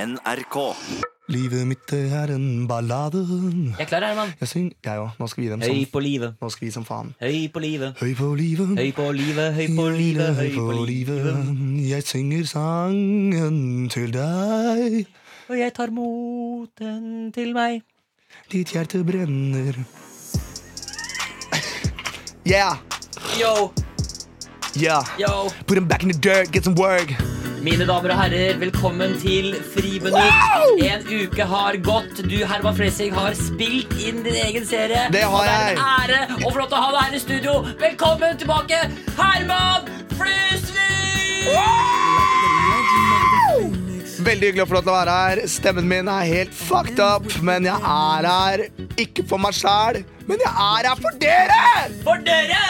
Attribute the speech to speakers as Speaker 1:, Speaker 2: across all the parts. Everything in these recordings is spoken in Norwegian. Speaker 1: NRK.
Speaker 2: Livet mitt det er en ballade.
Speaker 3: Jeg er klar, Herman.
Speaker 2: Jeg syng, jeg òg. Nå skal vi gi dem som,
Speaker 3: Høy på livet,
Speaker 2: nå skal vi som faen.
Speaker 3: høy på livet.
Speaker 2: Høy på livet.
Speaker 3: Høy på livet, høy på livet, høy på livet.
Speaker 2: Jeg synger sangen til deg.
Speaker 3: Og jeg tar moten til meg.
Speaker 2: Ditt hjerte brenner. Yeah,
Speaker 3: Yo,
Speaker 2: yeah.
Speaker 3: yo.
Speaker 2: Put them back in the dirt, get some work.
Speaker 3: Mine damer og herrer, velkommen til Friminutt. En uke har gått. Du, Herman Flesvig, har spilt inn din egen serie.
Speaker 2: Det har
Speaker 3: og det er
Speaker 2: jeg.
Speaker 3: en ære og flott å ha deg her i studio. Velkommen tilbake, Herman Flesvig!
Speaker 2: Veldig hyggelig å få lov til å være her. Stemmen min er helt fucked up, men jeg er her. Ikke for meg sjæl, men jeg er her for dere!
Speaker 3: For dere!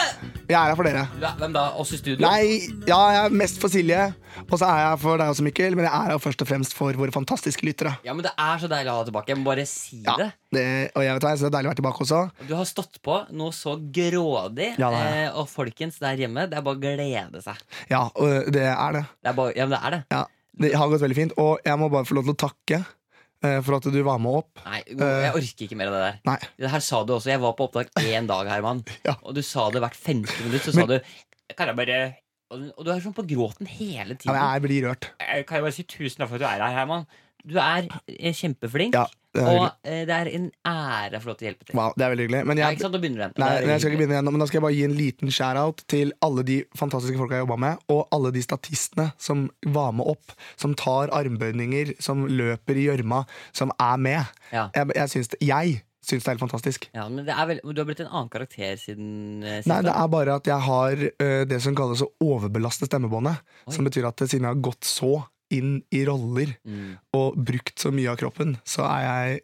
Speaker 2: Jeg er her for dere.
Speaker 3: Hva- Hvem da? Oss i studio?
Speaker 2: Nei, ja, jeg er mest for Silje, og så er jeg her for deg også, Mikkel. Men jeg er her først og fremst for våre fantastiske lyttere.
Speaker 3: Ja, men Det er så deilig å ha deg tilbake. Jeg må bare si
Speaker 2: Ja,
Speaker 3: det.
Speaker 2: det, og jeg vet hva, jeg synes det er deilig å være tilbake også.
Speaker 3: Du har stått på noe så grådig.
Speaker 2: Ja, det har jeg.
Speaker 3: eh, og folkens der hjemme, det er bare å glede seg.
Speaker 2: Ja, og det er det.
Speaker 3: Det er bare, ja, men det er det.
Speaker 2: Ja, det har gått veldig fint, og jeg må bare få lov til å takke eh, for at du var med opp.
Speaker 3: Nei,
Speaker 2: Eh.
Speaker 3: jeg orker ikke mer av det der.
Speaker 2: Nei.
Speaker 3: Det her sa du også. Jeg var på opptak én dag, Herman.
Speaker 2: Ja.
Speaker 3: Og du sa det hvert 50 minutt. Så sa du Kan jeg bare Og og du er sånn på gråten hele
Speaker 2: Ja,
Speaker 3: tiden.
Speaker 2: men jeg blir rørt.
Speaker 3: Eh, Kan jeg bare si tusen takk for at du er her, Herman? Du er eh, kjempeflink.
Speaker 2: Ja, det er
Speaker 3: og
Speaker 2: hyggelig.
Speaker 3: eh, det er en ære å få lov til å hjelpe til.
Speaker 2: Wow, det er veldig hyggelig. Men
Speaker 3: Ja, ikke
Speaker 2: jeg,
Speaker 3: sant, da begynner du igjen.
Speaker 2: nei,
Speaker 3: Det er
Speaker 2: men jeg skal ikke
Speaker 3: hyggelig.
Speaker 2: begynne igjen, nå, men da skal jeg bare gi en liten shout-out til alle de fantastiske folka jeg jobba med, og alle de statistene som var med opp, som tar armbøyninger, som løper i gjørma, som er med.
Speaker 3: Ja.
Speaker 2: Jeg, jeg, syns, det- jeg syns det er helt fantastisk.
Speaker 3: Ja, men det er vel, du har blitt en annen karakter siden eh, sist.
Speaker 2: Nei, det
Speaker 3: da.
Speaker 2: er bare at jeg har eh, det som kalles å overbelaste stemmebåndet.
Speaker 3: Oi.
Speaker 2: Som betyr at siden jeg har gått så inn i roller
Speaker 3: Mm.
Speaker 2: og brukt så mye av kroppen, så er jeg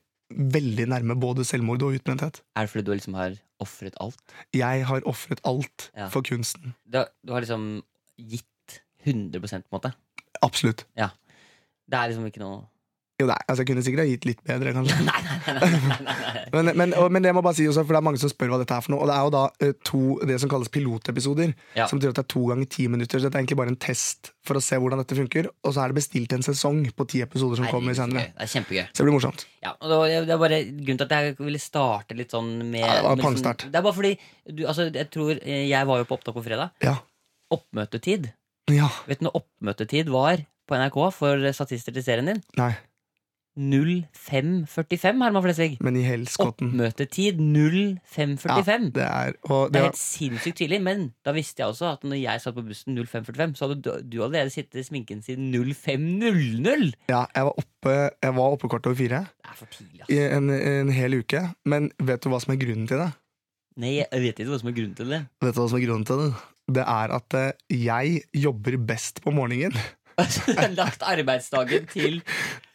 Speaker 2: veldig nærme både selvmord og utbrenthet.
Speaker 3: Er det fordi du liksom har ofret alt?
Speaker 2: Jeg har ofret alt
Speaker 3: Ja.
Speaker 2: for kunsten.
Speaker 3: Du har, du har liksom gitt 100 på en måte?
Speaker 2: Absolutt.
Speaker 3: Det er liksom ikke noe
Speaker 2: Jo, nei, altså, jeg kunne sikkert ha gitt litt bedre, kanskje.
Speaker 3: Nei, nei, nei! nei, nei, nei, nei.
Speaker 2: Men, men, og, men det må jeg bare si også, for det er mange som spør hva dette er for noe. Og det er jo da eh, to det som kalles pilotepisoder.
Speaker 3: Ja.
Speaker 2: Som betyr at det er to ganger ti minutter. Så dette er egentlig bare en test for å se hvordan dette funker. Og så er det bestilt en sesong på ti episoder som kommer
Speaker 3: Herregud, så
Speaker 2: senere.
Speaker 3: gøy. Det er kjempegøy.
Speaker 2: Så det blir morsomt.
Speaker 3: Ja, og det, var, det er bare grunnen til at jeg ville starte litt sånn med
Speaker 2: Ja, det var
Speaker 3: med
Speaker 2: pangstart.
Speaker 3: Sånn, det er bare fordi du, altså, jeg tror eh, Jeg var jo på opptak på fredag.
Speaker 2: Ja.
Speaker 3: Oppmøtetid.
Speaker 2: Ja.
Speaker 3: Vet du når oppmøtetid var på NRK for eh, statister til serien din?
Speaker 2: Nei.
Speaker 3: 05.45, Herman Flesvig.
Speaker 2: Men i helskotten.
Speaker 3: Oppmøtetid 05.45.
Speaker 2: Det er Og
Speaker 3: Det
Speaker 2: det
Speaker 3: er
Speaker 2: var
Speaker 3: helt sinnssykt tidlig, men da visste jeg også at når jeg satt på bussen 05.45, så hadde du, du allerede sittet i sminken siden 05.00!
Speaker 2: Ja, jeg var oppe Jeg var oppe kvart over fire
Speaker 3: Det er for tidlig, altså. ass.
Speaker 2: i en, en hel uke. Men vet du hva som er grunnen til det?
Speaker 3: Nei, jeg vet ikke hva som er grunnen til det.
Speaker 2: Vet du hva som er grunnen til det? Det er at eh, jeg jobber best på morgenen.
Speaker 3: Altså, Du har lagt arbeidsdagen til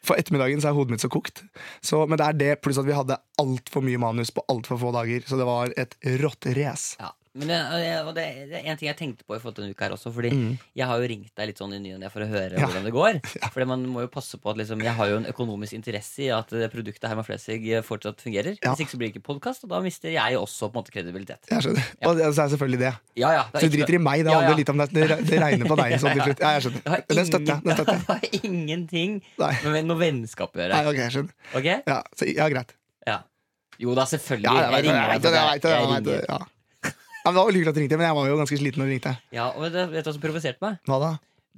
Speaker 2: For ettermiddagen så er hodet mitt så kokt. Så, men det er det, pluss at vi hadde altfor mye manus på altfor få dager. Så det var et rått race.
Speaker 3: Ja, men det, og det- og det, det er en ting jeg tenkte på i forhold til denne uka her også, fordi
Speaker 2: Mm.
Speaker 3: jeg har jo ringt deg litt sånn i ny og ne for å høre
Speaker 2: Ja.
Speaker 3: hvordan det går. Fordi man må jo passe på at liksom, jeg har jo en økonomisk interesse i at det produktet Herman Flesvig eh, fortsatt fungerer.
Speaker 2: Ja.
Speaker 3: Hvis ikke så blir det ikke podkast, og da mister jeg jo også på en måte kredibilitet.
Speaker 2: Jeg skjønner. Og det, så er det selvfølgelig det.
Speaker 3: Ja, ja, det
Speaker 2: Så du driter i meg. Det
Speaker 3: Ja, ja.
Speaker 2: handler litt om deg. Det re- Det regner på deg. Sånn, til slutt. Ja, jeg
Speaker 3: Det har
Speaker 2: skjønner. Den støtter jeg.
Speaker 3: ingen-
Speaker 2: Den støtter jeg.
Speaker 3: det har ingenting
Speaker 2: Nei.
Speaker 3: med noe vennskap å
Speaker 2: Nei,
Speaker 3: gjøre.
Speaker 2: ok, jeg skjønner.
Speaker 3: Ok?
Speaker 2: Ja, så, ja greit.
Speaker 3: Ja. Jo da, selvfølgelig.
Speaker 2: Ja, jeg vet det, jeg vet det, jeg vet det, jeg vet det,
Speaker 3: ringer.
Speaker 2: ja. Ja, men det var veldig hyggelig at du ringte, men jeg var jo ganske sliten når du ringte.
Speaker 3: Ja, og vet du vet du hva som provoserte meg?
Speaker 2: Hva da?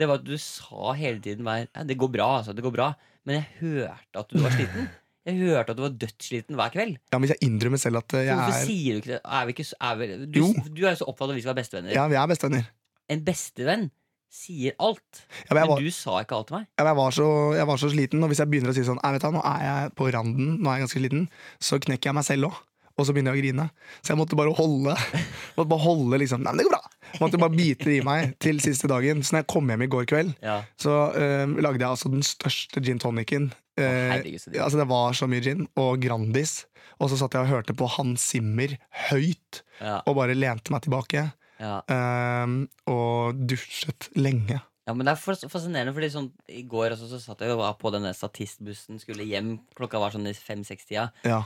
Speaker 3: Det var at du sa hele tiden hver ja, Det går bra, altså. Det går bra. Men jeg hørte at du var sliten. Jeg hørte at du var dødssliten hver kveld.
Speaker 2: Ja, men Hvis jeg innrømmer selv at eh, jeg
Speaker 3: Hvorfor
Speaker 2: er
Speaker 3: sier du ikke det? Er vi ikke, så- er vi, du,
Speaker 2: Jo.
Speaker 3: du er jo så opptatt av at vi skal være bestevenner.
Speaker 2: Ja, vi er bestevenner.
Speaker 3: En bestevenn sier alt.
Speaker 2: Ja, men jeg,
Speaker 3: Men
Speaker 2: var,
Speaker 3: du sa ikke alt til meg.
Speaker 2: ja, men jeg, var så, jeg var så sliten, og hvis jeg begynner å si sånn «Nei, vet du, hva, Nå er jeg på randen, nå er jeg ganske sliten, så knekker jeg meg selv òg. Og så begynner jeg å grine. Så jeg måtte bare holde. Måtte bare holde liksom, Nei, men det går bra! Måtte bare bite det i meg til siste dagen. Så når jeg kom hjem i går kveld,
Speaker 3: Ja.
Speaker 2: så eh, lagde jeg altså den største gin tonicen. eh,
Speaker 3: herregud, så digg.
Speaker 2: altså det var så mye gin og Grandis. Og så satt jeg og hørte på Hans Zimmer høyt,
Speaker 3: Ja,
Speaker 2: og bare lente meg tilbake.
Speaker 3: ja.
Speaker 2: eh, og dusjet lenge.
Speaker 3: ja, men det er fas- fascinerende, fordi sånn i går også, så satt jeg og var på denne statistbussen, skulle hjem, klokka var sånn i fem-seks-tida.
Speaker 2: Ja.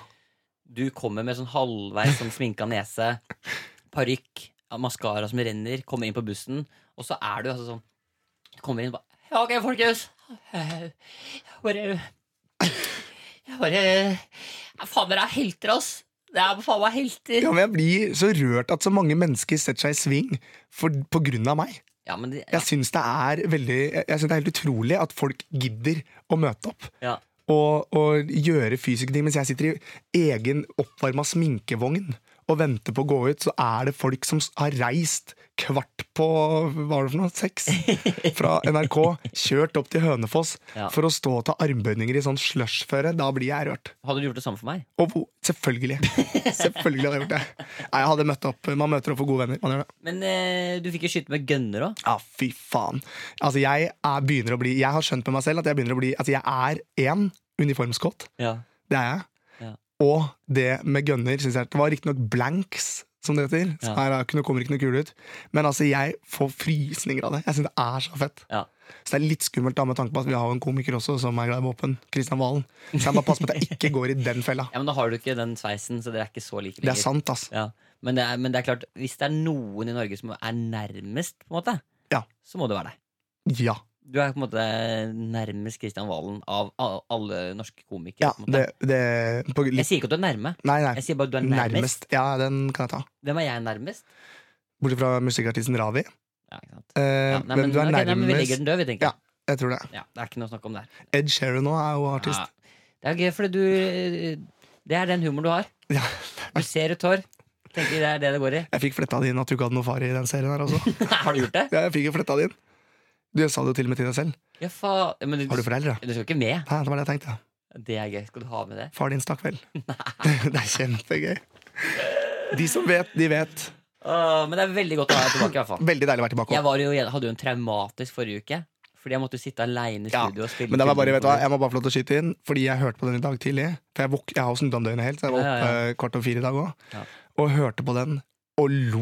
Speaker 3: Du kommer med sånn halvveis sånn sminka nese, parykk, maskara som renner, kommer inn på bussen, og så er du altså sånn Du kommer inn og bare Ja, ok, folkens, Eh, Jeg bare Jeg bare ja, Faen, dere er helter, ass. Det er faen meg helter.
Speaker 2: Ja, men jeg blir så rørt at så mange mennesker setter seg i sving for, på grunn av meg.
Speaker 3: Ja, men de,
Speaker 2: Jeg syns det er veldig Jeg synes det er helt utrolig at folk gidder å møte opp
Speaker 3: ja.
Speaker 2: og, og gjøre fysiske ting. Mens jeg sitter i egen oppvarma sminkevogn og venter på å gå ut, så er det folk som s- har reist kvart på hva var det for noe, seks fra NRK, kjørt opp til Hønefoss
Speaker 3: Ja.
Speaker 2: for å stå og ta armbøyninger i sånn slushføre. Da blir jeg rørt.
Speaker 3: Hadde du gjort det samme for meg?
Speaker 2: Og hvor- selvfølgelig. Selvfølgelig hadde jeg gjort det. Nei, jeg hadde møtt opp. Man møter opp for gode venner. Man gjør det.
Speaker 3: Men eh, du fikk jo skyte med gønner òg.
Speaker 2: Ja, fy faen. Altså, jeg, er, begynner å bli, jeg har skjønt med meg selv at jeg begynner å bli Altså, jeg er én uniformskott.
Speaker 3: Ja.
Speaker 2: Det er jeg.
Speaker 3: Ja.
Speaker 2: Og det med gunner synes jeg Det var riktignok blanks, som det heter. Så
Speaker 3: Ja.
Speaker 2: her er ikke noe, kommer ikke noe kule ut. Men altså, jeg får frysninger av det. Jeg synes det er så fett.
Speaker 3: Ja.
Speaker 2: Så det er litt skummelt da med tanke på at vi har en komiker også som er glad i våpen. Kristian Valen. Så jeg må passe på at jeg ikke går i den fella.
Speaker 3: ja, Men da har du ikke den sveisen, så dere er ikke så like
Speaker 2: Det
Speaker 3: lenger.
Speaker 2: er sant, ass.
Speaker 3: Ja. Men, det er, men det er klart, hvis det er noen i Norge som er nærmest, på en måte,
Speaker 2: Ja.
Speaker 3: så må det være deg.
Speaker 2: Ja.
Speaker 3: Du er på en måte nærmest Kristian Valen av a- alle norske komikere.
Speaker 2: ja
Speaker 3: på en måte.
Speaker 2: det, det på,
Speaker 3: Jeg
Speaker 2: litt,
Speaker 3: sier ikke at du er nærme.
Speaker 2: Nei, nei.
Speaker 3: Jeg sier bare at du er nærmest.
Speaker 2: Nærmest. Ja, den kan jeg ta.
Speaker 3: Hvem er jeg nærmest?
Speaker 2: Bortsett fra musikkartisten Ravi.
Speaker 3: Ja, ikke sant?
Speaker 2: Eh,
Speaker 3: Ja, nei,
Speaker 2: men, du er
Speaker 3: ok, nei, men vi
Speaker 2: nærmest
Speaker 3: legger den død, vi, tenker jeg.
Speaker 2: Jeg tror det.
Speaker 3: Ja. det er ikke noe å snakke om der.
Speaker 2: Ed Sheeran nå er jo artist.
Speaker 3: Ja. Det er gøy, fordi du eh, Det er den humoren du har.
Speaker 2: Ja.
Speaker 3: Du ser ut hår. Tenker det er det det går i.
Speaker 2: Jeg fikk fletta det inn at du ikke hadde noe far i den serien her også.
Speaker 3: har du gjort det?
Speaker 2: Ja, jeg fikk jo fletta det inn. Du sa det jo til og med til deg selv.
Speaker 3: Ja, faen. Men du,
Speaker 2: Har du foreldre?
Speaker 3: du skal ikke med.
Speaker 2: Hæ, det var det jeg tenkte.
Speaker 3: Det er gøy. Skal du ha med det?
Speaker 2: Far din stakk vel. Det er kjempegøy. De som vet, de vet.
Speaker 3: Åh, men det er veldig godt å ha deg tilbake, i hvert fall.
Speaker 2: Veldig deilig å være tilbake.
Speaker 3: Jeg var jo, hadde jo en traumatisk forrige uke. Fordi jeg måtte jo sitte aleine i
Speaker 2: Ja,
Speaker 3: studio og spille.
Speaker 2: Men da må jeg bare,
Speaker 3: film
Speaker 2: vet du hva, jeg må bare få lov til å skyte inn, fordi jeg hørte på den i dag tidlig. For jeg, våk jeg har jo snudd om døgnet helt, så jeg var
Speaker 3: Ja, ja,
Speaker 2: oppe
Speaker 3: ja.
Speaker 2: eh, kvart over fire i dag òg.
Speaker 3: Ja.
Speaker 2: Og hørte på den og lo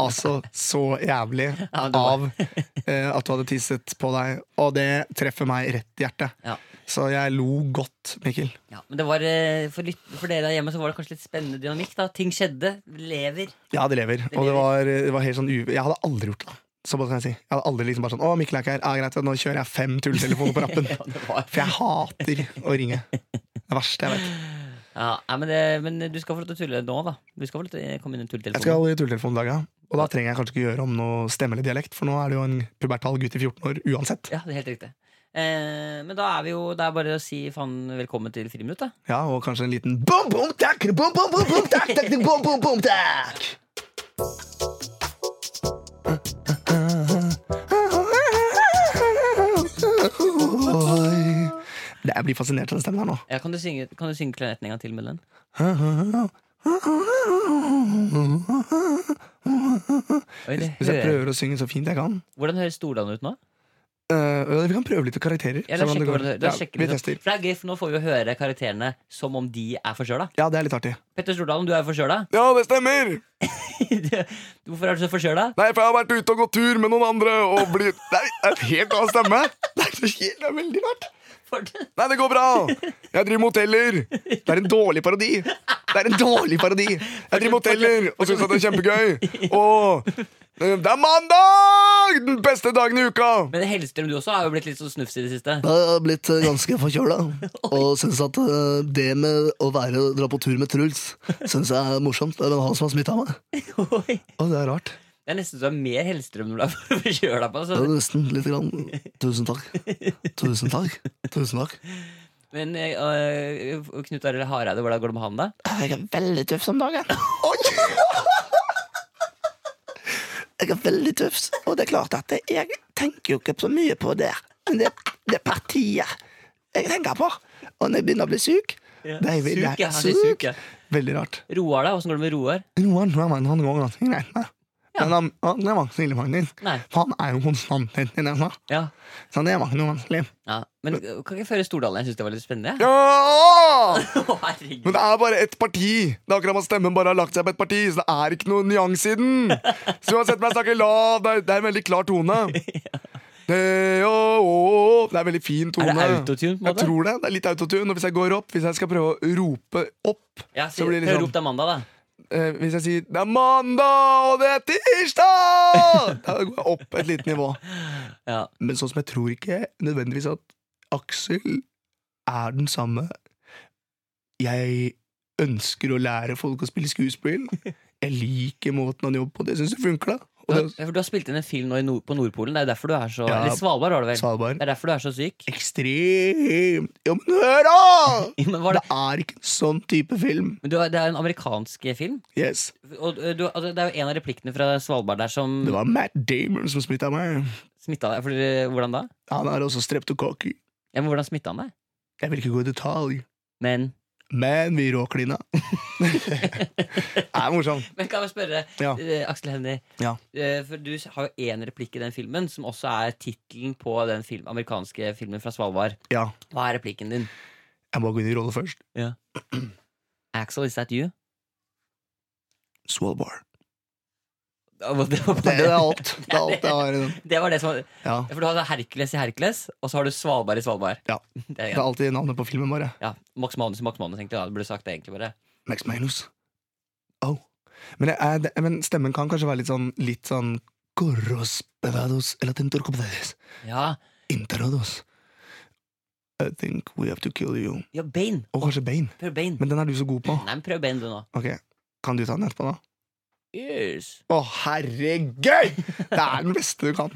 Speaker 2: altså så jævlig
Speaker 3: Ja, det var-
Speaker 2: av eh, at du hadde tisset på deg. Og det treffer meg rett i hjertet.
Speaker 3: Ja.
Speaker 2: Så jeg lo godt, Mikkel.
Speaker 3: Ja, men det var, eh, for, lytt- for dere der hjemme så var det kanskje litt spennende dynamikk. da Ting skjedde. Lever.
Speaker 2: Ja, det lever.
Speaker 3: Det
Speaker 2: Og det
Speaker 3: lever.
Speaker 2: var, det var helt sånn uve... Jeg hadde aldri gjort det. Så bare kan jeg si. Jeg hadde aldri liksom bare sånn Å, Mikkel er ikke her. Ja, greit, nå kjører jeg fem tulltelefoner på rappen.
Speaker 3: Ja, det var
Speaker 2: For jeg hater å ringe. Det verste jeg vet.
Speaker 3: ja, nei, men, det, men du skal få lov til å tulle nå, da. Du skal få lov til å komme inn i
Speaker 2: Jeg
Speaker 3: tulletelefonen.
Speaker 2: skal i tulletelefonen i dag, ja. Og da trenger jeg kanskje ikke gjøre om noe stemme eller dialekt, for nå er det jo en pubertal gutt i 14 år uansett.
Speaker 3: Ja, det er helt riktig. Eh, men da er vi jo Det er bare å si faen velkommen til friminutt, da.
Speaker 2: Ja, og kanskje en liten bom, bom, takk, bom, bom, bom, bom, takk, takk, takk, bom, bom, bom, takk. Oi. Det, jeg blir fascinert av den stemmen her nå.
Speaker 3: Ja, kan, du synge, kan du synge klarinetten en gang til med den? Oi, det
Speaker 2: Hvis jeg
Speaker 3: hører.
Speaker 2: prøver å synge så fint jeg kan
Speaker 3: Hvordan høres Stordalen ut nå?
Speaker 2: Eh, Vi kan prøve litt karakterer.
Speaker 3: Ja, la oss
Speaker 2: se hvordan det går.
Speaker 3: sjekke hvordan det høres. La oss
Speaker 2: Ja,
Speaker 3: sjekke
Speaker 2: vi
Speaker 3: litt.
Speaker 2: tester.
Speaker 3: For det er gøy, for nå får vi jo høre karakterene som om de er forkjøla.
Speaker 2: Ja, det er litt artig.
Speaker 3: Petter Stordalen, du er jo forkjøla.
Speaker 2: Ja, det stemmer!
Speaker 3: Du- Hvorfor er du så forkjøla?
Speaker 2: Nei, for jeg har vært ute og gått tur med noen andre og blitt Nei, det er et helt annen stemme. Det er, så helt, det er veldig rart.
Speaker 3: For det-
Speaker 2: Nei, det går bra. Jeg driver med hoteller. Det er en dårlig parodi. Det er en dårlig parodi. Jeg driver med hoteller og syns at det er kjempegøy. Og eh, det er mandag! Den beste dagen i uka.
Speaker 3: Men Hellstrøm, du også, har jo blitt litt sånn snufs i det siste.
Speaker 1: Jeg har blitt eh, ganske forkjøla, og syns at eh, det med å være, dra på tur med Truls synes jeg er morsomt. Det er vel han som har smitta meg.
Speaker 3: Oi.
Speaker 2: Å, det er rart.
Speaker 3: Det er nesten så du er mer Hellstrøm når du er forkjøla. på,
Speaker 1: Det
Speaker 3: altså.
Speaker 1: er Nesten lite grann. Tusen takk. Tusen takk. Tusen takk.
Speaker 3: Men eh, øh, Knut Arild Hareide, hvordan går det med han, da?
Speaker 1: Jeg er veldig tøff om dagen. Jeg er veldig tøff, og det er klart at jeg tenker jo ikke så mye på det. Men det, det er partiet jeg tenker på. Og når jeg begynner å bli syk
Speaker 3: Ja,
Speaker 2: Det er veldig-
Speaker 3: Suk, ja. Han
Speaker 2: suk.
Speaker 3: er suk, ja.
Speaker 2: Veldig rart.
Speaker 3: Roar, da? Åssen går det med Roar?
Speaker 2: Roar tror jeg var en han går ganske greit med. Men han, han, det var ikke så ille, mannen din.
Speaker 3: Nei.
Speaker 2: For han er jo konstant i det, han sa.
Speaker 3: Ja.
Speaker 2: så det var ikke noe vanskelig.
Speaker 3: ja. Men øh, kan ikke føre Stordalen? Jeg syns det var litt spennende. jeg.
Speaker 2: Ja!
Speaker 3: Å, herregud.
Speaker 2: Men det er bare ett parti. Det er akkurat som at stemmen bare har lagt seg på et parti. Så det er ikke noen nyanse i den. Så uansett om jeg snakker lav, det er, det er en veldig klar tone. Det, å, å, å. det er en veldig fin
Speaker 3: Er
Speaker 2: tone.
Speaker 3: det autotune, på en måte?
Speaker 2: Jeg tror det. Det er litt autotune. Og hvis jeg går opp, hvis jeg skal prøve å rope opp
Speaker 3: Ja,
Speaker 2: Så
Speaker 3: si,
Speaker 2: blir det
Speaker 3: prøv å
Speaker 2: sånn-
Speaker 3: rope til Amanda, da.
Speaker 2: eh, hvis jeg sier 'det er mandag, og det er tirsdag', da går jeg opp et lite nivå.
Speaker 3: Ja.
Speaker 2: Men sånn som jeg tror ikke nødvendigvis at Aksel er den samme. Jeg ønsker å lære folk å spille skuespill. Jeg liker måten han jobber på. Det syns jeg funker, da.
Speaker 3: Du,
Speaker 2: Og
Speaker 3: har,
Speaker 2: det
Speaker 3: ja, for du har spilt inn en film nå i nord, på Nordpolen. Det er derfor du er så
Speaker 2: Ja.
Speaker 3: Eller Svalbard, var
Speaker 2: er
Speaker 3: det vel? Det
Speaker 2: Svalbard.
Speaker 3: er derfor du er så syk.
Speaker 2: Ekstremt Ja, men hør, da!
Speaker 3: Ja, Men, var
Speaker 2: Det
Speaker 3: det,
Speaker 2: er ikke en sånn type film.
Speaker 3: men du, har- det er en amerikansk film.
Speaker 2: Yes.
Speaker 3: Og ø, du, altså, det er jo en av replikkene fra Svalbard der som
Speaker 2: Det var Matt Damon som smitta meg.
Speaker 3: smitta deg. Fordi, hvordan da?
Speaker 2: Han er også streptokokker.
Speaker 3: Ja, men hvordan smitta han deg?
Speaker 2: Jeg vil ikke gå i detalj,
Speaker 3: Men,
Speaker 2: men vi råklina. det er morsomt.
Speaker 3: men kan jeg spørre,
Speaker 2: Ja.
Speaker 3: ø, Aksel Hennie.
Speaker 2: Ja.
Speaker 3: ø, For du har jo én replikk i den filmen, som også er tittelen på den film, amerikanske filmen fra Svalbard.
Speaker 2: Ja,
Speaker 3: Hva er replikken din?
Speaker 2: jeg må gå inn i rolle først.
Speaker 3: Axel, is that you?
Speaker 2: Svalbard.
Speaker 3: Det var det, var
Speaker 2: Det, det er alt. Det er alt jeg har i den.
Speaker 3: det, var det som var
Speaker 2: Ja.
Speaker 3: For du hadde Hercules i Hercules, og så har du Svalbard i Svalbard.
Speaker 2: Ja.
Speaker 3: Det er
Speaker 2: Det er alltid navnet på filmen bare.
Speaker 3: ja, Max Manus i Max Manus, egentlig. Ja, det burde sagt det, egentlig bare.
Speaker 2: Max Manus. Oh. Men, jeg, er- det, men stemmen kan kanskje være litt sånn litt sånn Corrospedados eller tentorcopedados.
Speaker 3: Ja,
Speaker 2: Interados. I think we have to kill you.
Speaker 3: ja Bane!
Speaker 2: Og kanskje Bane.
Speaker 3: Prøv Bane.
Speaker 2: Men den er du så god på.
Speaker 3: Nei, men prøv Bane, du nå.
Speaker 2: Ok, Kan du ta den etterpå, da?
Speaker 3: Yes.
Speaker 2: Å, herregud! Det er den beste du kan.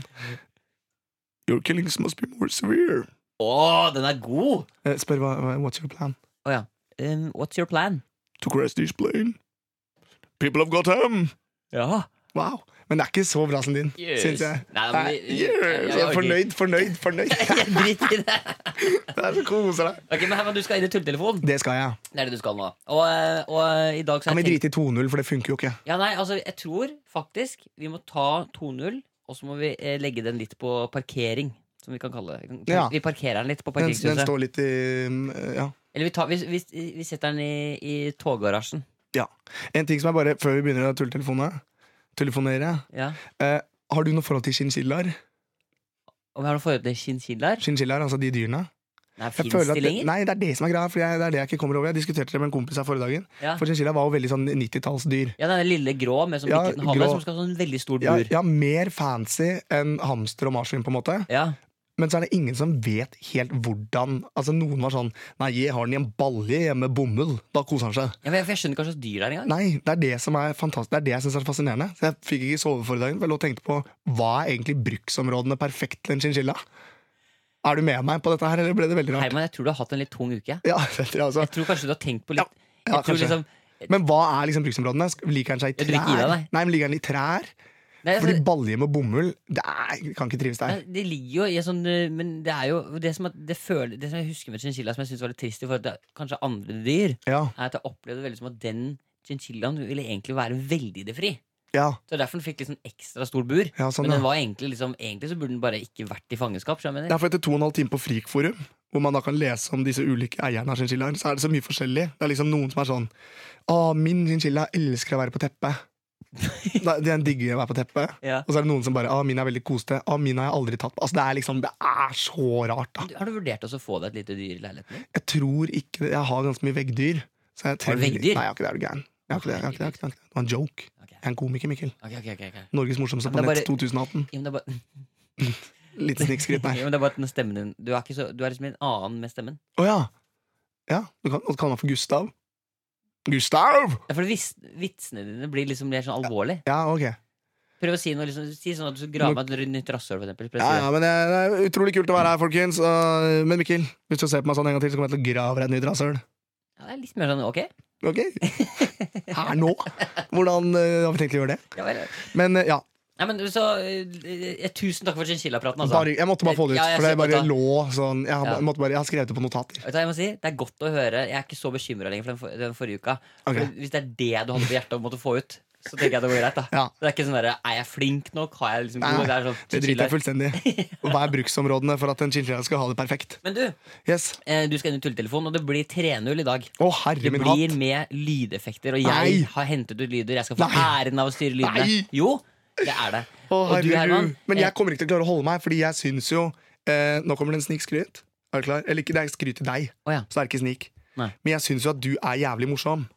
Speaker 2: Your killings must be more severe.
Speaker 3: Å, den er god!
Speaker 2: Eh, spør hva, hva- what's your plan?
Speaker 3: Um, what's your plan?
Speaker 2: To crash this plane. People have got him!
Speaker 3: Ja.
Speaker 2: Wow. Men det er ikke så bra som din,
Speaker 3: Yes.
Speaker 2: syns jeg.
Speaker 3: Nei, men
Speaker 2: Nei,
Speaker 3: vi- vi- jeg-
Speaker 2: yes. jeg
Speaker 3: jeg
Speaker 2: er
Speaker 3: orker
Speaker 2: fornøyd, fornøyd, fornøyd.
Speaker 3: Drit i det.
Speaker 2: Det er så koser deg.
Speaker 3: Ok, men Herman, Du skal inn i tulltelefonen.
Speaker 2: Det skal jeg.
Speaker 3: Det er det du skal nå. Og, eh, og eh, i dag så
Speaker 2: Kan
Speaker 3: har
Speaker 2: vi
Speaker 3: jeg
Speaker 2: drite
Speaker 3: tenkt-
Speaker 2: i 2-0, for det funker jo ikke.
Speaker 3: Ja, nei, altså, jeg tror faktisk vi må ta 2-0, og så må vi eh, legge den litt på parkering. Som vi kan kalle det. Vi kan-
Speaker 2: Ja.
Speaker 3: Vi parkerer den litt på
Speaker 2: Den, den
Speaker 3: parkeringshuset.
Speaker 2: står litt i mm, Ja.
Speaker 3: Eller vi, tar, vi, vi, vi setter den i, i toggarasjen.
Speaker 2: ja. En ting som er bare før vi begynner å tulletelefonere Telefonere
Speaker 3: Ja.
Speaker 2: eh, Har du noe forhold til chinchillaer?
Speaker 3: Om jeg har noe forhold til chinchillaer?
Speaker 2: Chinchillaer, altså de dyrene?
Speaker 3: Nei,
Speaker 2: Jeg
Speaker 3: fins
Speaker 2: føler at
Speaker 3: de
Speaker 2: det,
Speaker 3: lenger?
Speaker 2: nei, det er det som er greia. For jeg, det er det jeg ikke kommer over Jeg diskuterte det med en kompis her forrige dagen.
Speaker 3: Ja.
Speaker 2: For chinchilla var jo veldig sånn 90-tallsdyr.
Speaker 3: Ja, den lille grå med som
Speaker 2: Ja,
Speaker 3: ikke den hale,
Speaker 2: grå.
Speaker 3: som skal ha sånn veldig stor
Speaker 2: Ja,
Speaker 3: bur. Ja,
Speaker 2: ja, mer fancy enn hamster og marsvin, på en måte. Men så er det ingen som vet helt hvordan Altså Noen var sånn Nei, jeg har den i en balje hjemme med bomull. Da koser han seg.
Speaker 3: Ja, men jeg, for jeg skjønner ikke hva slags dyr det er engang.
Speaker 2: Nei, det er det som er fantastisk Det er det jeg synes er fascinerende. Så Jeg fikk ikke sove forrige dagen, for jeg lå og tenkte på hva er egentlig bruksområdene perfekt til en chinchilla? Er du med meg på dette her, eller ble det veldig rart?
Speaker 3: Herman, jeg tror du har hatt en litt tung uke.
Speaker 2: Ja, det tror jeg også.
Speaker 3: Jeg tror kanskje du har tenkt på litt
Speaker 2: Ja,
Speaker 3: jeg tror
Speaker 2: kanskje.
Speaker 3: liksom,
Speaker 2: Men hva er liksom bruksområdene? Sk- Liker han seg i
Speaker 3: Ja, du vil
Speaker 2: trær?
Speaker 3: ikke gi deg, nei.
Speaker 2: nei, men Liker han i trær?
Speaker 3: nei, altså,
Speaker 2: Fordi balje med bomull det er, kan ikke trives der.
Speaker 3: Nei, Det ligger jo i en sånn eh, Men det er jo det som, er- det føler, det som jeg husker med chinchilla, som jeg synes var litt trist i forhold til kanskje andre dyr,
Speaker 2: Ja,
Speaker 3: er at jeg opplevde det veldig som at den chinchillaen ville egentlig være veldig idéfri.
Speaker 2: ja,
Speaker 3: Så derfor den fikk litt sånn ekstra stor bur.
Speaker 2: ja sånn
Speaker 3: men den
Speaker 2: ja.
Speaker 3: var egentlig liksom Egentlig så burde den bare ikke vært i fangenskap. skjønner
Speaker 2: Det
Speaker 3: Jeg mener.
Speaker 2: er for etter to og en halv time på Frikforum, hvor man da kan lese om disse ulike eierne av chinchillaer, så er det så mye forskjellig. Det er liksom noen som er sånn Å, min chinchilla elsker å være på teppet. Da- Den digger å være på teppet.
Speaker 3: Ja.
Speaker 2: Og så er det noen som bare Å, min er veldig kosete. Å, min har jeg aldri tatt på. Altså, det er liksom Det er så rart, da.
Speaker 3: Du- Har du vurdert også å få deg et lite dyr i leiligheten din?
Speaker 2: Jeg tror ikke det. Jeg har ganske mye veggdyr. Så jeg
Speaker 3: Har du
Speaker 2: trenger-
Speaker 3: veggdyr?
Speaker 2: Nei, jeg har ikke det. Er du gæren? Jeg har ikke det. Jeg har ikke det. Jeg har ikke det. Det var en joke.
Speaker 3: Ok.
Speaker 2: Jeg er en komiker, Mikkel.
Speaker 3: Ok, ok, ok, ok.
Speaker 2: Norges morsomste
Speaker 3: Men det
Speaker 2: på
Speaker 3: er
Speaker 2: nett
Speaker 3: bare-
Speaker 2: 2018.
Speaker 3: Ja, men det er bare,
Speaker 2: Litt snikskritt, nei.
Speaker 3: ja, men det er bare at den stemmen din Du er, ikke så, du er liksom en annen med stemmen.
Speaker 2: Å ja. ja. Du kan du kalle meg for Gustav. Gustav!
Speaker 3: Ja, for vis, Vitsene dine blir liksom mer sånn alvorlig.
Speaker 2: Ja, ok.
Speaker 3: Prøv å si noe liksom, si sånn at du graver meg et nytt rasshøl, for eksempel. Prøv
Speaker 2: Ja,
Speaker 3: å si
Speaker 2: ja,
Speaker 3: det.
Speaker 2: men det er, det er utrolig kult å være her, folkens. Og- men Mikkel, hvis du ser på meg sånn en gang til, så kommer jeg til å grave deg et nytt rasshøl.
Speaker 3: Ja, det er litt mer sånn ok?
Speaker 2: Ok? Her nå? Hvordan eh, har vi tenkt å gjøre det?
Speaker 3: Ja, vel.
Speaker 2: Men eh, ja,
Speaker 3: Nei, men så eh, eh, Tusen takk for chinchilla-praten, altså.
Speaker 2: bare, jeg måtte bare få det ut.
Speaker 3: Ja, jeg
Speaker 2: for det
Speaker 3: ser på
Speaker 2: bare
Speaker 3: det.
Speaker 2: lå sånn. Jeg har,
Speaker 3: Ja.
Speaker 2: jeg måtte bare, jeg har skrevet det på notater.
Speaker 3: Vet du hva jeg må si? Det er godt å høre. Jeg er ikke så bekymra lenger for den, for den forrige uka.
Speaker 2: Ok.
Speaker 3: For Hvis det er det du hadde på hjertet og måtte få ut, så tenker jeg det går greit. da
Speaker 2: Ja.
Speaker 3: Det er ikke sånn der, Er jeg flink nok? Har jeg liksom
Speaker 2: Nei,
Speaker 3: god Det er sånn
Speaker 2: Det driter jeg
Speaker 3: chiller.
Speaker 2: fullstendig i. Hva er bruksområdene for at en chinchilla skal ha det perfekt?
Speaker 3: Men du,
Speaker 2: Yes.
Speaker 3: eh, du skal inn i tulletelefonen, og det blir 3-0 i dag.
Speaker 2: Å,
Speaker 3: Det
Speaker 2: herre min
Speaker 3: blir
Speaker 2: hatt!
Speaker 3: med lydeffekter, og jeg
Speaker 2: Nei.
Speaker 3: har hentet ut lyder. Jeg skal få
Speaker 2: Nei.
Speaker 3: æren av å styre lydene.
Speaker 2: Nei.
Speaker 3: Jo, det er det.
Speaker 2: Å,
Speaker 3: og du,
Speaker 2: herregud.
Speaker 3: Herman,
Speaker 2: Men
Speaker 3: eh,
Speaker 2: jeg kommer ikke til å klare å holde meg, fordi jeg syns jo eh, Nå kommer det en snikskryt. Er du klar? Eller ikke, det er skryt til deg,
Speaker 3: Å ja.
Speaker 2: så det er ikke snik.
Speaker 3: Nei.
Speaker 2: Men jeg syns jo at du er jævlig morsom.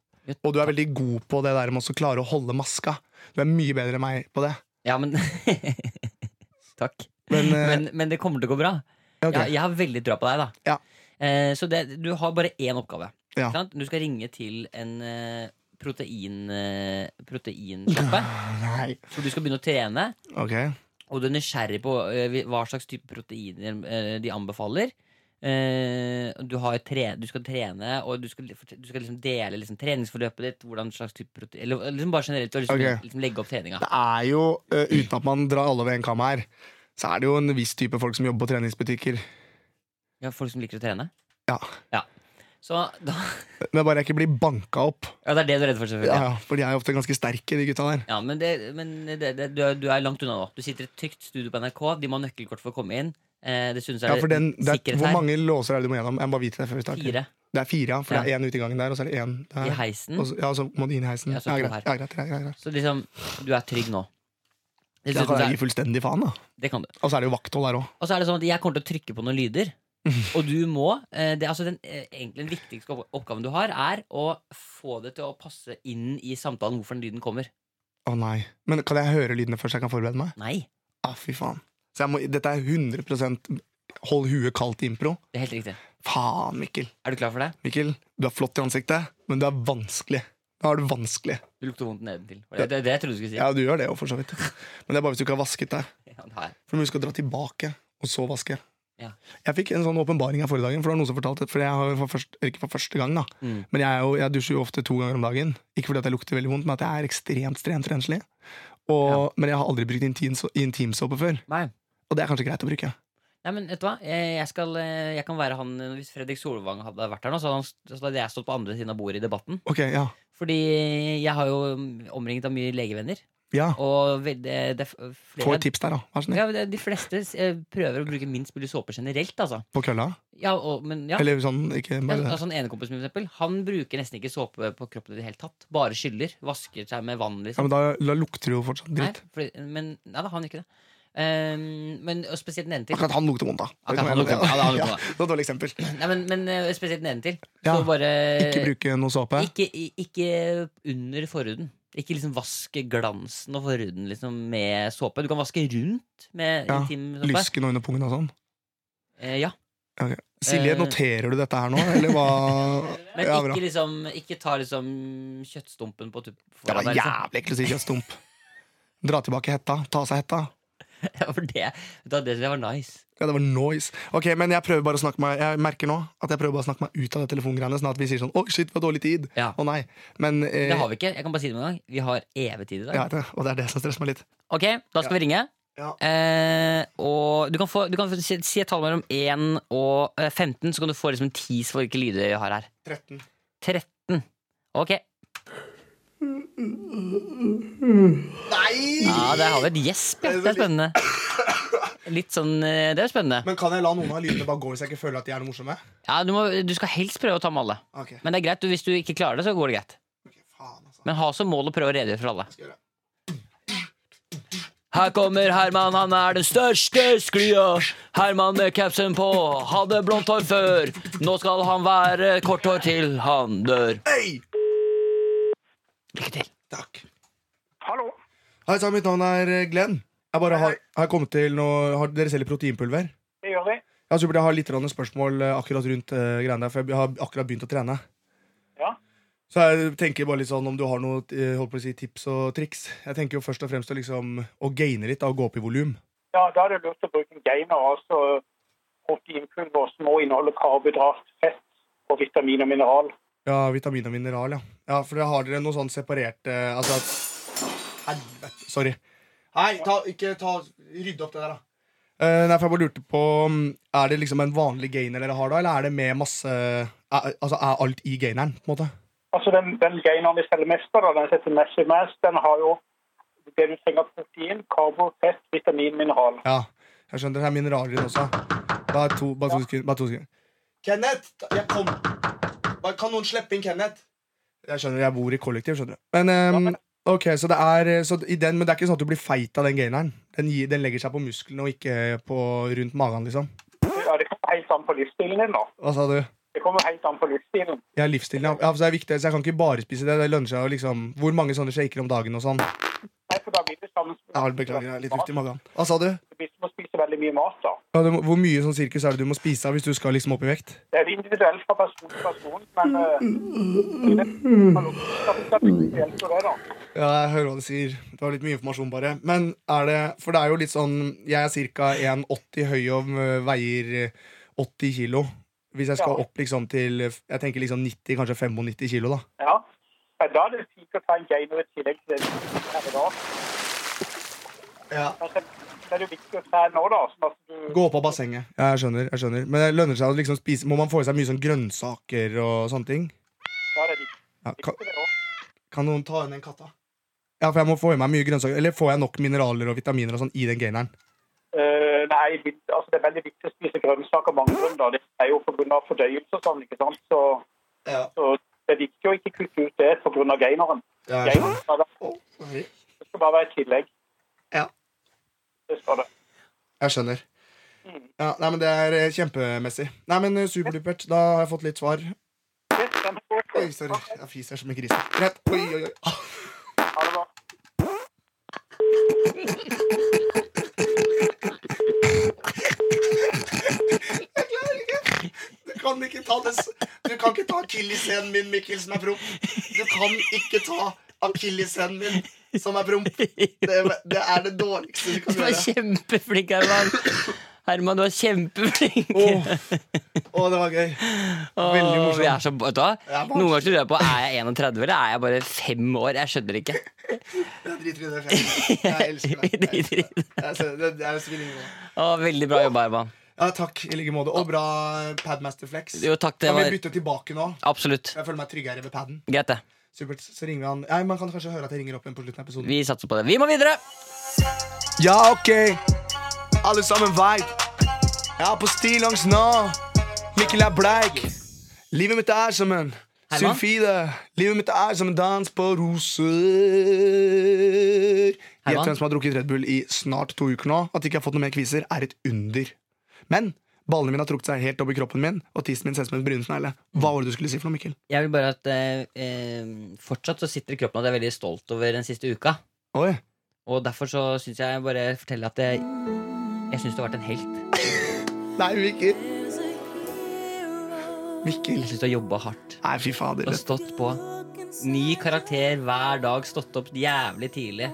Speaker 2: Og du er veldig god på det der med også klare å holde maska. Du er mye bedre enn meg på det.
Speaker 3: Ja, men Takk.
Speaker 2: Men, eh,
Speaker 3: Men, men det kommer til å gå bra.
Speaker 2: ok.
Speaker 3: Jeg, jeg har veldig tro på deg, da.
Speaker 2: Ja.
Speaker 3: Eh, så det, du har bare én oppgave.
Speaker 2: Ja.
Speaker 3: Ikke sant? Du skal ringe til en eh, protein... eh, proteinshoppe.
Speaker 2: Nei.
Speaker 3: For du skal begynne å trene.
Speaker 2: Ok.
Speaker 3: og du er nysgjerrig på eh, vi- hva slags type proteiner eh, de anbefaler. Eh, du, har tre, du skal trene, og du skal, du skal liksom dele liksom, treningsforløpet ditt. Hvordan slags type protein, eller liksom bare generelt du har lyst til å
Speaker 2: Ok.
Speaker 3: liksom, legge opp treninga.
Speaker 2: Det er jo, eh, uten at man drar alle over en kam her, så er det jo en viss type folk som jobber på treningsbutikker.
Speaker 3: Ja, folk som liker å trene.
Speaker 2: Ja.
Speaker 3: Så da,
Speaker 2: Men bare jeg ikke blir banka opp.
Speaker 3: ja, det er det du er redd for, selvfølgelig.
Speaker 2: Ja,
Speaker 3: Ja,
Speaker 2: ja, For de er jo ofte ganske sterke, de gutta der.
Speaker 3: men, det, men det, det, du, er, du er langt unna nå. Du sitter i et trygt studio på NRK. De må ha nøkkelkort for å komme inn. Eh, det synes jeg
Speaker 2: Ja, for den, det er,
Speaker 3: sikkerhet
Speaker 2: hvor
Speaker 3: her.
Speaker 2: mange låser er det du må gjennom? Jeg må bare vite det før vi starter.
Speaker 3: Fire
Speaker 2: Det er fire, ja. For det er én ute i gangen der, og så er det én der.
Speaker 3: i heisen.
Speaker 2: Og så, ja, og så må du inn i heisen.
Speaker 3: Ja,
Speaker 2: Ja,
Speaker 3: så to
Speaker 2: greit,
Speaker 3: her.
Speaker 2: ja, greit, greit, greit, greit.
Speaker 3: Så liksom, du er trygg nå.
Speaker 2: Da
Speaker 3: Dessuten
Speaker 2: kan
Speaker 3: så
Speaker 2: jeg
Speaker 3: er-
Speaker 2: gi fullstendig faen, da.
Speaker 3: det kan du.
Speaker 2: Og så er det jo vakthold der òg.
Speaker 3: Og så er det sånn at jeg kommer til å trykke på noen lyder. Og du må eh, det, er altså den, eh, egentlig den viktigste opp- oppgaven du har, er å få det til å passe inn i samtalen hvorfor den lyden kommer.
Speaker 2: Å nei. Men kan jeg høre lydene først, så jeg kan forberede meg?
Speaker 3: Nei.
Speaker 2: Ah, fy faen. Så jeg må, dette er 100 hold huet kaldt impro.
Speaker 3: Det er helt riktig.
Speaker 2: Faen, Mikkel.
Speaker 3: Er du klar for det?
Speaker 2: Mikkel, du er flott i ansiktet, men du er vanskelig. Da er du vanskelig.
Speaker 3: Du lukter vondt nedentil. Var Det, det, det jeg trodde du skulle si.
Speaker 2: Ja, du gjør det jo, for så vidt. Men det er bare hvis du ikke har vasket deg.
Speaker 3: Ja, det har jeg.
Speaker 2: For du må huske å dra tilbake, og så vaske.
Speaker 3: Ja.
Speaker 2: Jeg fikk en sånn åpenbaring her forrige dagen, for det var noen som fortalte For jeg har jo for først, ikke for første gang, da,
Speaker 3: Mm.
Speaker 2: men jeg, er jo, jeg dusjer jo ofte to ganger om dagen. Ikke fordi at jeg lukter veldig vondt, men at jeg er ekstremt ekstremt renslig. Og, Men jeg har aldri brukt intims- intimsåpe før,
Speaker 3: Nei.
Speaker 2: og det er kanskje greit å bruke.
Speaker 3: Nei, men vet du hva? Jeg, jeg, skal, eh, jeg kan være han eh, Hvis Fredrik Solvang hadde vært her nå, så hadde, han, så hadde jeg stått på andre siden av bordet i debatten.
Speaker 2: Ok, ja.
Speaker 3: Fordi jeg har jo mm, omringet av mye legevenner.
Speaker 2: ja.
Speaker 3: Og ve- det, det er f- flere
Speaker 2: Få et tips der, da. Vær så snill.
Speaker 3: Ja, men det- De fleste eh, prøver å bruke minst mulig såpe generelt. altså
Speaker 2: På kølla.
Speaker 3: Ja, og, men ja
Speaker 2: Eller sånn, ikke
Speaker 3: ja,
Speaker 2: bare
Speaker 3: altså, en ene kompis min, for eksempel, Han bruker nesten ikke såpe på kroppen i det hele tatt. Bare skyller. Vasker seg med vann.
Speaker 2: Ja,
Speaker 3: liksom
Speaker 2: men da, da lukter det jo fortsatt
Speaker 3: Nei,
Speaker 2: dritt.
Speaker 3: fordi, men nei, da, han gjør ikke det. Ehm, men og spesielt nedentil.
Speaker 2: Akkurat han lukter vondt, da.
Speaker 3: Akkurat han lukter vondt. Ja, det er han lukter
Speaker 2: Ja, det var et dårlig eksempel.
Speaker 3: Nei, men, men eh, spesielt nedentil.
Speaker 2: Ja,
Speaker 3: Så bare
Speaker 2: Ikke bruke noe såpe.
Speaker 3: Eh, ikke, i- ikke under forhuden. Ikke liksom vaske glansen og forhuden liksom med såpe. Du kan vaske rundt med
Speaker 2: Ja,
Speaker 3: intim såpe.
Speaker 2: Lyske noe under pungen og sånn.
Speaker 3: Eh, ja.
Speaker 2: Silje,
Speaker 3: Eh.
Speaker 2: noterer du dette her nå, eller hva?
Speaker 3: Men
Speaker 2: Ja, bra.
Speaker 3: ikke, liksom, ikke ta liksom kjøttstumpen på tupp
Speaker 2: Det
Speaker 3: foran
Speaker 2: var
Speaker 3: deg. Liksom.
Speaker 2: jævlig ekkelt å si kjøttstump. Dra tilbake hetta. Ta av seg hetta.
Speaker 3: Ja, liksom. for det, da, det synes jeg var nice.
Speaker 2: Ja, det var noise. Ok, men jeg prøver bare å snakke meg Jeg merker nå at jeg prøver bare å snakke meg ut av det telefongreiene. Sånn at vi sier sånn 'Å, shit, vi har dårlig tid'.
Speaker 3: Ja.
Speaker 2: Å nei. Men eh,
Speaker 3: Det har vi ikke. Jeg kan bare si det med en gang. Vi har evig tid i dag.
Speaker 2: jeg vet det, Og det er det som stresser meg litt.
Speaker 3: Ok, da skal vi ringe.
Speaker 2: Ja.
Speaker 3: Eh, og du kan, få, du kan få si, si et tall mellom 1 og eh, 15, så kan du få liksom en tease for hvilke lyder vi har her.
Speaker 2: 13.
Speaker 3: 13. Ok.
Speaker 2: Nei!
Speaker 3: Ja, der har vi et gjesp. Ja. Det er spennende. Litt sånn eh, Det er spennende.
Speaker 2: Men kan jeg la noen av lydene bare gå hvis jeg ikke føler at de er noe morsomme?
Speaker 3: Ja, du, må, du skal helst prøve å ta med alle.
Speaker 2: Ok,
Speaker 3: Men det er greit, du- hvis du ikke klarer det, så går det greit.
Speaker 2: ok, faen altså
Speaker 3: Men ha som mål å prøve å redegjøre for alle.
Speaker 2: Skal jeg gjøre.
Speaker 3: Her kommer Herman, han er den største sklia. Herman med capsen på, hadde blondt hår før. Nå skal han være kort hår til han dør.
Speaker 2: Hei!
Speaker 3: Lykke til.
Speaker 2: Takk.
Speaker 4: Hallo.
Speaker 2: Hei sann, mitt navn er eh, Glenn. Jeg bare har, har kommet til noe har, Dere selger proteinpulver?
Speaker 4: Det gjør vi.
Speaker 2: Ja, supert. Jeg har litt grann spørsmål eh, akkurat rundt eh, greiene der, for jeg har akkurat begynt å trene.
Speaker 4: Ja.
Speaker 2: Så jeg tenker bare litt sånn om du har noe eh, holdt på å si, tips og triks. Jeg tenker jo først og fremst å liksom å gaine litt, da, å gå opp i volum.
Speaker 4: Ja, da er det lurt å bruke en gainer, altså proteinpulver som må inneholde karbohydrat, fett og vitamin og mineral.
Speaker 2: Ja, vitamin og mineral, ja. Ja, For da har dere noe sånn separert eh, Altså at- Helvete. Sorry. Hei, ta, ikke ta Rydd opp det der, da. Eh, nei, for jeg bare lurte på mm, Er det liksom en vanlig gainer dere har da, eller er det med masse er, Altså, er alt i gaineren, på en måte?
Speaker 4: Altså den, den gaineren vi selger mest av, da, den heter Massive Mass, den har jo det du trenger av protein, karbo, fett, vitamin, mineral.
Speaker 2: Ja, jeg skjønner. Det er mineraler i den også. Bare to, bare to sekunder. Bare to sekunder. Kenneth! Jeg kom. Bare, kan noen slippe inn Kenneth? Jeg skjønner, jeg bor i kollektiv, skjønner du. Men, ehm,
Speaker 4: men-
Speaker 2: ok, så det er eh, så i den, Men det er ikke sånn at du blir feit av den gaineren? Den, gir, den legger seg på musklene og ikke eh, på, rundt magen, liksom?
Speaker 4: Ja, det kommer helt an på livsstilen din, da.
Speaker 2: Hva sa du?
Speaker 4: Det kommer helt an på livsstilen.
Speaker 2: Ja, livsstilen. Ja, for det er viktig, så jeg kan ikke bare spise det. Det lønner seg å liksom Hvor mange sånne shaker om dagen og sånn.
Speaker 4: Nei, for da blir det sammen
Speaker 2: Ja, beklager, jeg er litt ufti i magen. Hva sa du?
Speaker 4: Hvis du må spise veldig mye mat, da.
Speaker 2: Ja, du må- hvor mye sånn cirkus er det du må spise av hvis du skal liksom opp i vekt?
Speaker 4: Det er individuelt fra person til person, men eh, det er- det er spesielt for det, da.
Speaker 2: Ja, jeg hører hva du sier. Det var litt mye informasjon, bare. Men er det For det er jo litt sånn Jeg er ca. 1,80 høy og øh, veier øh, 80 kilo. Hvis jeg skal
Speaker 4: Ja.
Speaker 2: opp liksom til øh, Jeg tenker liksom 90, kanskje 95 kilo, da.
Speaker 4: Ja. Men Da er det fint å ta en gainer i tillegg til det vi gjør her i dag.
Speaker 2: Ja.
Speaker 4: Men så så er det jo viktig å trene nå, da. Sånn at du
Speaker 2: Gå opp av bassenget. Ja, jeg skjønner. jeg skjønner Men det lønner seg å liksom spise Må man få i seg mye sånn grønnsaker og sånne ting?
Speaker 4: Ja, det er viktig,
Speaker 2: Ja, kan,
Speaker 4: det også.
Speaker 2: kan noen ta inn den katta? Ja, for jeg må få i meg mye grønnsaker. Eller får jeg nok mineraler og vitaminer og sånn i den gaineren?
Speaker 4: Eh, nei, vi- altså det er veldig viktig å spise grønnsaker av mange grunner. Det er jo pga. fordøyelse og sånn, ikke sant. Så,
Speaker 2: Ja.
Speaker 4: så det er viktig å ikke kutte ut det pga. gaineren.
Speaker 2: Ja, jeg
Speaker 4: Gaineren skal det-
Speaker 2: skjønner.
Speaker 4: det skal bare være i tillegg.
Speaker 2: Ja.
Speaker 4: Det skal det.
Speaker 2: Jeg skjønner. Ja, nei, men det er eh, kjempemessig. Nei, men eh, superdupert. Da har jeg fått litt svar.
Speaker 4: Yes, den er god.
Speaker 2: Oi, sorry. Jeg fiser som en gris. Greit. Oi, oi, oi. Ah,
Speaker 4: Ha det bra.
Speaker 2: Jeg klarer ikke. Du kan ikke ta det s- Du kan ikke ta akilleshælen min, Mikkel, som er promp. Du kan ikke ta akilleshælen min, som er promp. Det, det er det dårligste du kan
Speaker 3: Du var
Speaker 2: gjøre.
Speaker 3: kjempeflink, Herman. Herman, du var kjempeflink.
Speaker 2: Åh, åh, det var gøy. Veldig
Speaker 3: Åh, vi er
Speaker 2: morsomt.
Speaker 3: så, vet du hva?
Speaker 2: Jeg er barnslig.
Speaker 3: Noen ganger så lurer jeg på er jeg 31 eller er jeg bare fem år. Jeg skjønner ikke.
Speaker 2: Jeg driter i det. Jeg, jeg elsker deg. Jeg elsker deg. Jeg, ser- det, det er spiller ingen rolle.
Speaker 3: Åh, veldig bra jobba, Herman.
Speaker 2: Ja, takk i like måte. Og bra Padmaster Flex.
Speaker 3: Jo, takk, det
Speaker 2: kan
Speaker 3: var-
Speaker 2: vi bytte tilbake nå?
Speaker 3: Absolutt.
Speaker 2: Jeg føler meg tryggere ved paden.
Speaker 3: Greit, det.
Speaker 2: Supert. Så ringer vi han. Nei, man kan kanskje høre at jeg ringer opp igjen på slutten av episoden.
Speaker 3: Vi satser på det. Vi må videre!
Speaker 2: Ja, ok. Alle sammen vibe. Jeg er på stillongs nå. Mikkel er bleik. Livet mitt er som en
Speaker 3: Herman?
Speaker 2: sulfide. Livet mitt er som en dans på roser. Gjett
Speaker 3: Herman?
Speaker 2: hvem som har drukket Red Bull i snart to uker nå. At de ikke har fått noe mer kviser, er et under. Men ballene mine har trukket seg helt opp i kroppen min, og tissen min ser ut som en brynsnegle. Hva var det du skulle si for noe, Mikkel?
Speaker 3: Jeg vil bare at eh, eh, Fortsatt så sitter i kroppen at jeg er veldig stolt over den siste uka.
Speaker 2: Oi.
Speaker 3: Og derfor så syns jeg bare fortelle at jeg, jeg syns du har vært en helt.
Speaker 2: Nei, Mikkel. Mikkel.
Speaker 3: Jeg syns du har jobba hardt.
Speaker 2: Nei, fy fader.
Speaker 3: Du har stått på. Ny karakter hver dag, stått opp jævlig tidlig.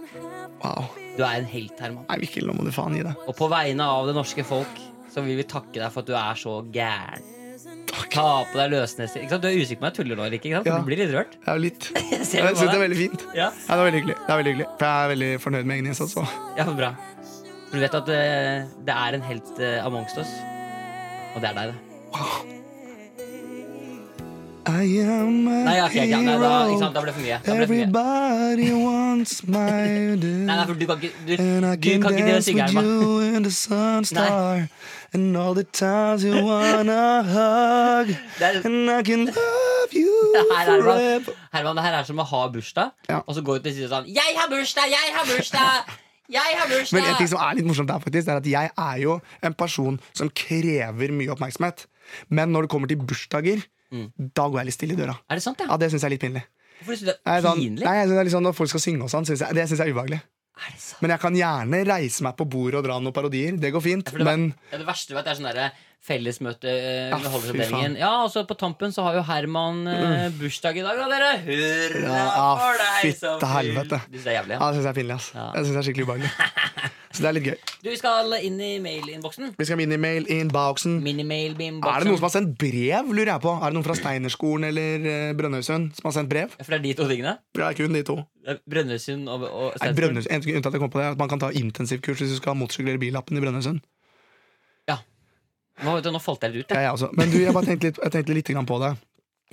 Speaker 2: Wow.
Speaker 3: Du er en helt, Herman.
Speaker 2: Nei, Mikkel, nå må du faen gi deg.
Speaker 3: Og på vegne av det norske folk så vil vi takke deg for at du er så gæren. Ta på deg løsneser. Ikke sant? Du er usikker på om jeg tuller nå eller ikke? ikke sant?
Speaker 2: Ja.
Speaker 3: Du blir litt rørt.
Speaker 2: Det er jo litt Jeg
Speaker 3: ser det på
Speaker 2: synes det er
Speaker 3: deg.
Speaker 2: veldig fint.
Speaker 3: Ja,
Speaker 2: Ja, det er veldig hyggelig. Det er veldig hyggelig. For jeg er veldig fornøyd med egen innsats. Og
Speaker 3: ja men bra. For du vet at eh, det er en helt uh, amongst oss. Og det er deg, det.
Speaker 2: I am a
Speaker 3: Nei, ok, ja, nei da, ikke
Speaker 2: hero.
Speaker 3: sant? da ble det for mye. Da ble det for mye.
Speaker 2: Everybody wants my
Speaker 3: Nei, nei,
Speaker 2: dear.
Speaker 3: for du kan ikke Du,
Speaker 2: And I
Speaker 3: du
Speaker 2: can
Speaker 3: kan ikke det å
Speaker 2: dance
Speaker 3: synge,
Speaker 2: with
Speaker 3: Herman.
Speaker 2: you in the sunstar. And all the times you wanna hug.
Speaker 3: Det er-
Speaker 2: And I can love you
Speaker 3: Det her, er,
Speaker 2: forever.
Speaker 3: bare- Herman, det her er som å ha bursdag,
Speaker 2: Ja.
Speaker 3: og så gå ut og si sånn 'Jeg har bursdag! Jeg har bursdag! Jeg har bursdag!'
Speaker 2: Men en ting som er litt morsomt der faktisk, det er at jeg er jo en person som krever mye oppmerksomhet. Men når det kommer til bursdager,
Speaker 3: Mm.
Speaker 2: da går jeg litt stille i døra.
Speaker 3: Er det sant, ja?
Speaker 2: Ja, Det syns jeg er litt pinlig.
Speaker 3: Hvorfor syns du det
Speaker 2: Jeg
Speaker 3: er
Speaker 2: er sånn,
Speaker 3: pinlig?
Speaker 2: nei, jeg synes det er litt sånn Når folk skal synge og sånn, synes jeg, det syns jeg er ubehagelig.
Speaker 3: Er det sant?
Speaker 2: Men jeg kan gjerne reise meg på bordet og dra noen parodier. Det går fint.
Speaker 3: For det,
Speaker 2: Men
Speaker 3: ja, det verste du vet, er sånn derre fellesmøte eh,
Speaker 2: Ja,
Speaker 3: underholdningsavdelingen.
Speaker 2: fy faen. Mm.
Speaker 3: Ja, og så på tampen så har jo Herman eh, bursdag i dag, da, dere. Hurra
Speaker 2: Ja,
Speaker 3: for deg!
Speaker 2: fytte
Speaker 3: som fyll-
Speaker 2: helvete.
Speaker 3: Du synes det er jævlig,
Speaker 2: ja,
Speaker 3: ja.
Speaker 2: det syns jeg er pinlig. ass
Speaker 3: Ja.
Speaker 2: Jeg synes det er skikkelig ubehagelig Så det er litt gøy.
Speaker 3: Du, vi skal inn i mailinnboksen.
Speaker 2: Vi skal minimail inboxen.
Speaker 3: Mm. Minimailbeamboksen.
Speaker 2: Er det noen som har sendt brev, lurer jeg på? Er det noen fra Steinerskolen eller eh, Brønnøysund som har sendt brev?
Speaker 3: For det er de to tingene?
Speaker 2: Det er kun de to.
Speaker 3: Det er Brønnøysund og, og
Speaker 2: Nei,
Speaker 3: Steinsvoll.
Speaker 2: Brønnøysund, en ting- unntatt jeg kom på det, er at Man kan ta intensivkurs hvis du skal motorsykle eller billappen i Brønnøysund.
Speaker 3: Nå, vet du, nå falt jeg litt ut,
Speaker 2: Ja,
Speaker 3: jeg.
Speaker 2: jeg også. Men du, jeg bare tenkte litt, jeg tenkte litt grann på det.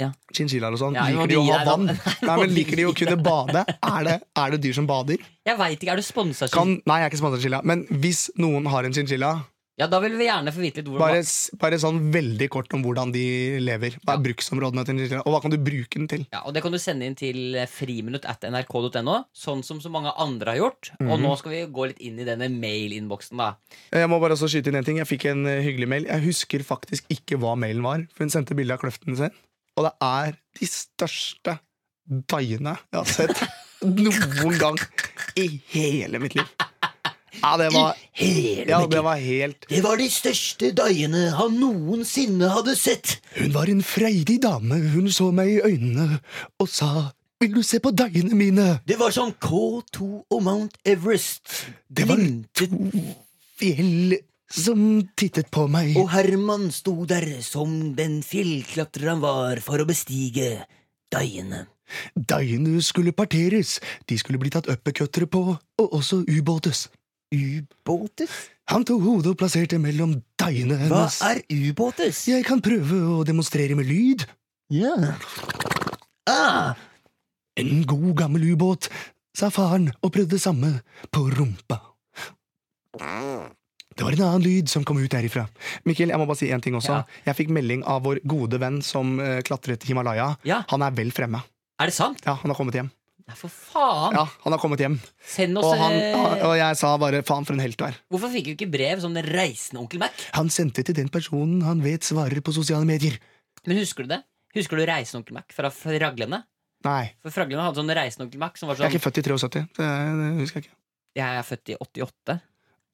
Speaker 3: Ja.
Speaker 2: Chinchillaer og sånn.
Speaker 3: Ja, nå
Speaker 2: liker de å
Speaker 3: gir
Speaker 2: ha
Speaker 3: jeg
Speaker 2: vann?
Speaker 3: dem.
Speaker 2: Nei, men Liker de å kunne bade? Er det, er det dyr som bader?
Speaker 3: Jeg veit ikke. Er du sponsa?
Speaker 2: Kan, nei, jeg er ikke sponset chinchilla, men hvis noen har en chinchilla
Speaker 3: Ja, da vil vi gjerne få vite litt hvordan
Speaker 2: Bare, s- bare sånn veldig kort om hvordan de lever. Hva er bruksområdene til nitrogen, og hva kan du bruke den til?
Speaker 3: Ja, og Det kan du sende inn til friminutt at nrk.no, sånn som så mange andre har gjort.
Speaker 2: Mhm.
Speaker 3: Og nå skal vi gå litt inn i denne mailinnboksen, da.
Speaker 2: Jeg må bare også skyte inn en ting Jeg fikk en eh, hyggelig mail. Jeg husker faktisk ikke hva mailen var, for hun sendte bilde av kløften sin. Og det er de største daiene jeg har sett noen gang i hele mitt liv. Ja, det var,
Speaker 5: Hele
Speaker 2: ja, det var helt
Speaker 5: Det var de største daiene han noensinne hadde sett.
Speaker 2: Hun var en freidig dame, hun så meg i øynene og sa Vil du se på daiene mine?
Speaker 5: Det var som
Speaker 3: sånn
Speaker 5: K2 og Mount Everest.
Speaker 2: Det var
Speaker 5: Glimtet,
Speaker 2: Fjell som tittet på meg.
Speaker 5: og Herman sto der som den fjellklatrer han var for å bestige daiene.
Speaker 2: Daiene skulle parteres, de skulle bli tatt uppercuttere på, og også ubåtes.
Speaker 5: Ubåtes?
Speaker 2: Han tok hodet og plasserte mellom daiene
Speaker 5: Hva
Speaker 2: hennes.
Speaker 5: er ubåtes?
Speaker 2: Jeg kan prøve å demonstrere med lyd.
Speaker 5: Ja. Ah,
Speaker 2: En god gammel ubåt, sa faren og prøvde det samme på rumpa. Det var en annen lyd som kom ut derifra. Mikkel, jeg må bare si en ting også.
Speaker 3: Ja.
Speaker 2: Jeg fikk melding av vår gode venn som eh, klatret Himalaya.
Speaker 3: Ja.
Speaker 2: Han er vel fremme.
Speaker 3: Er det sant?
Speaker 2: Ja, han har kommet hjem.
Speaker 3: Nei, for faen!
Speaker 2: Ja, han har kommet hjem.
Speaker 3: Send oss
Speaker 2: Og, han,
Speaker 5: Ah,
Speaker 3: eh,
Speaker 2: og jeg sa bare faen for en helt du er.
Speaker 3: Hvorfor fikk vi ikke brev som den reisende onkel Mac?
Speaker 2: Han sendte til den personen han vet svarer på sosiale medier.
Speaker 3: Men husker du det? Husker du reisende onkel Mac fra Fraglene?
Speaker 2: Nei,
Speaker 3: For Fraglene hadde sånn reisende onkel Mac som var
Speaker 2: jeg er
Speaker 3: sånn
Speaker 2: ikke født i 73. Det, det husker jeg ikke.
Speaker 3: Jeg er født i 88.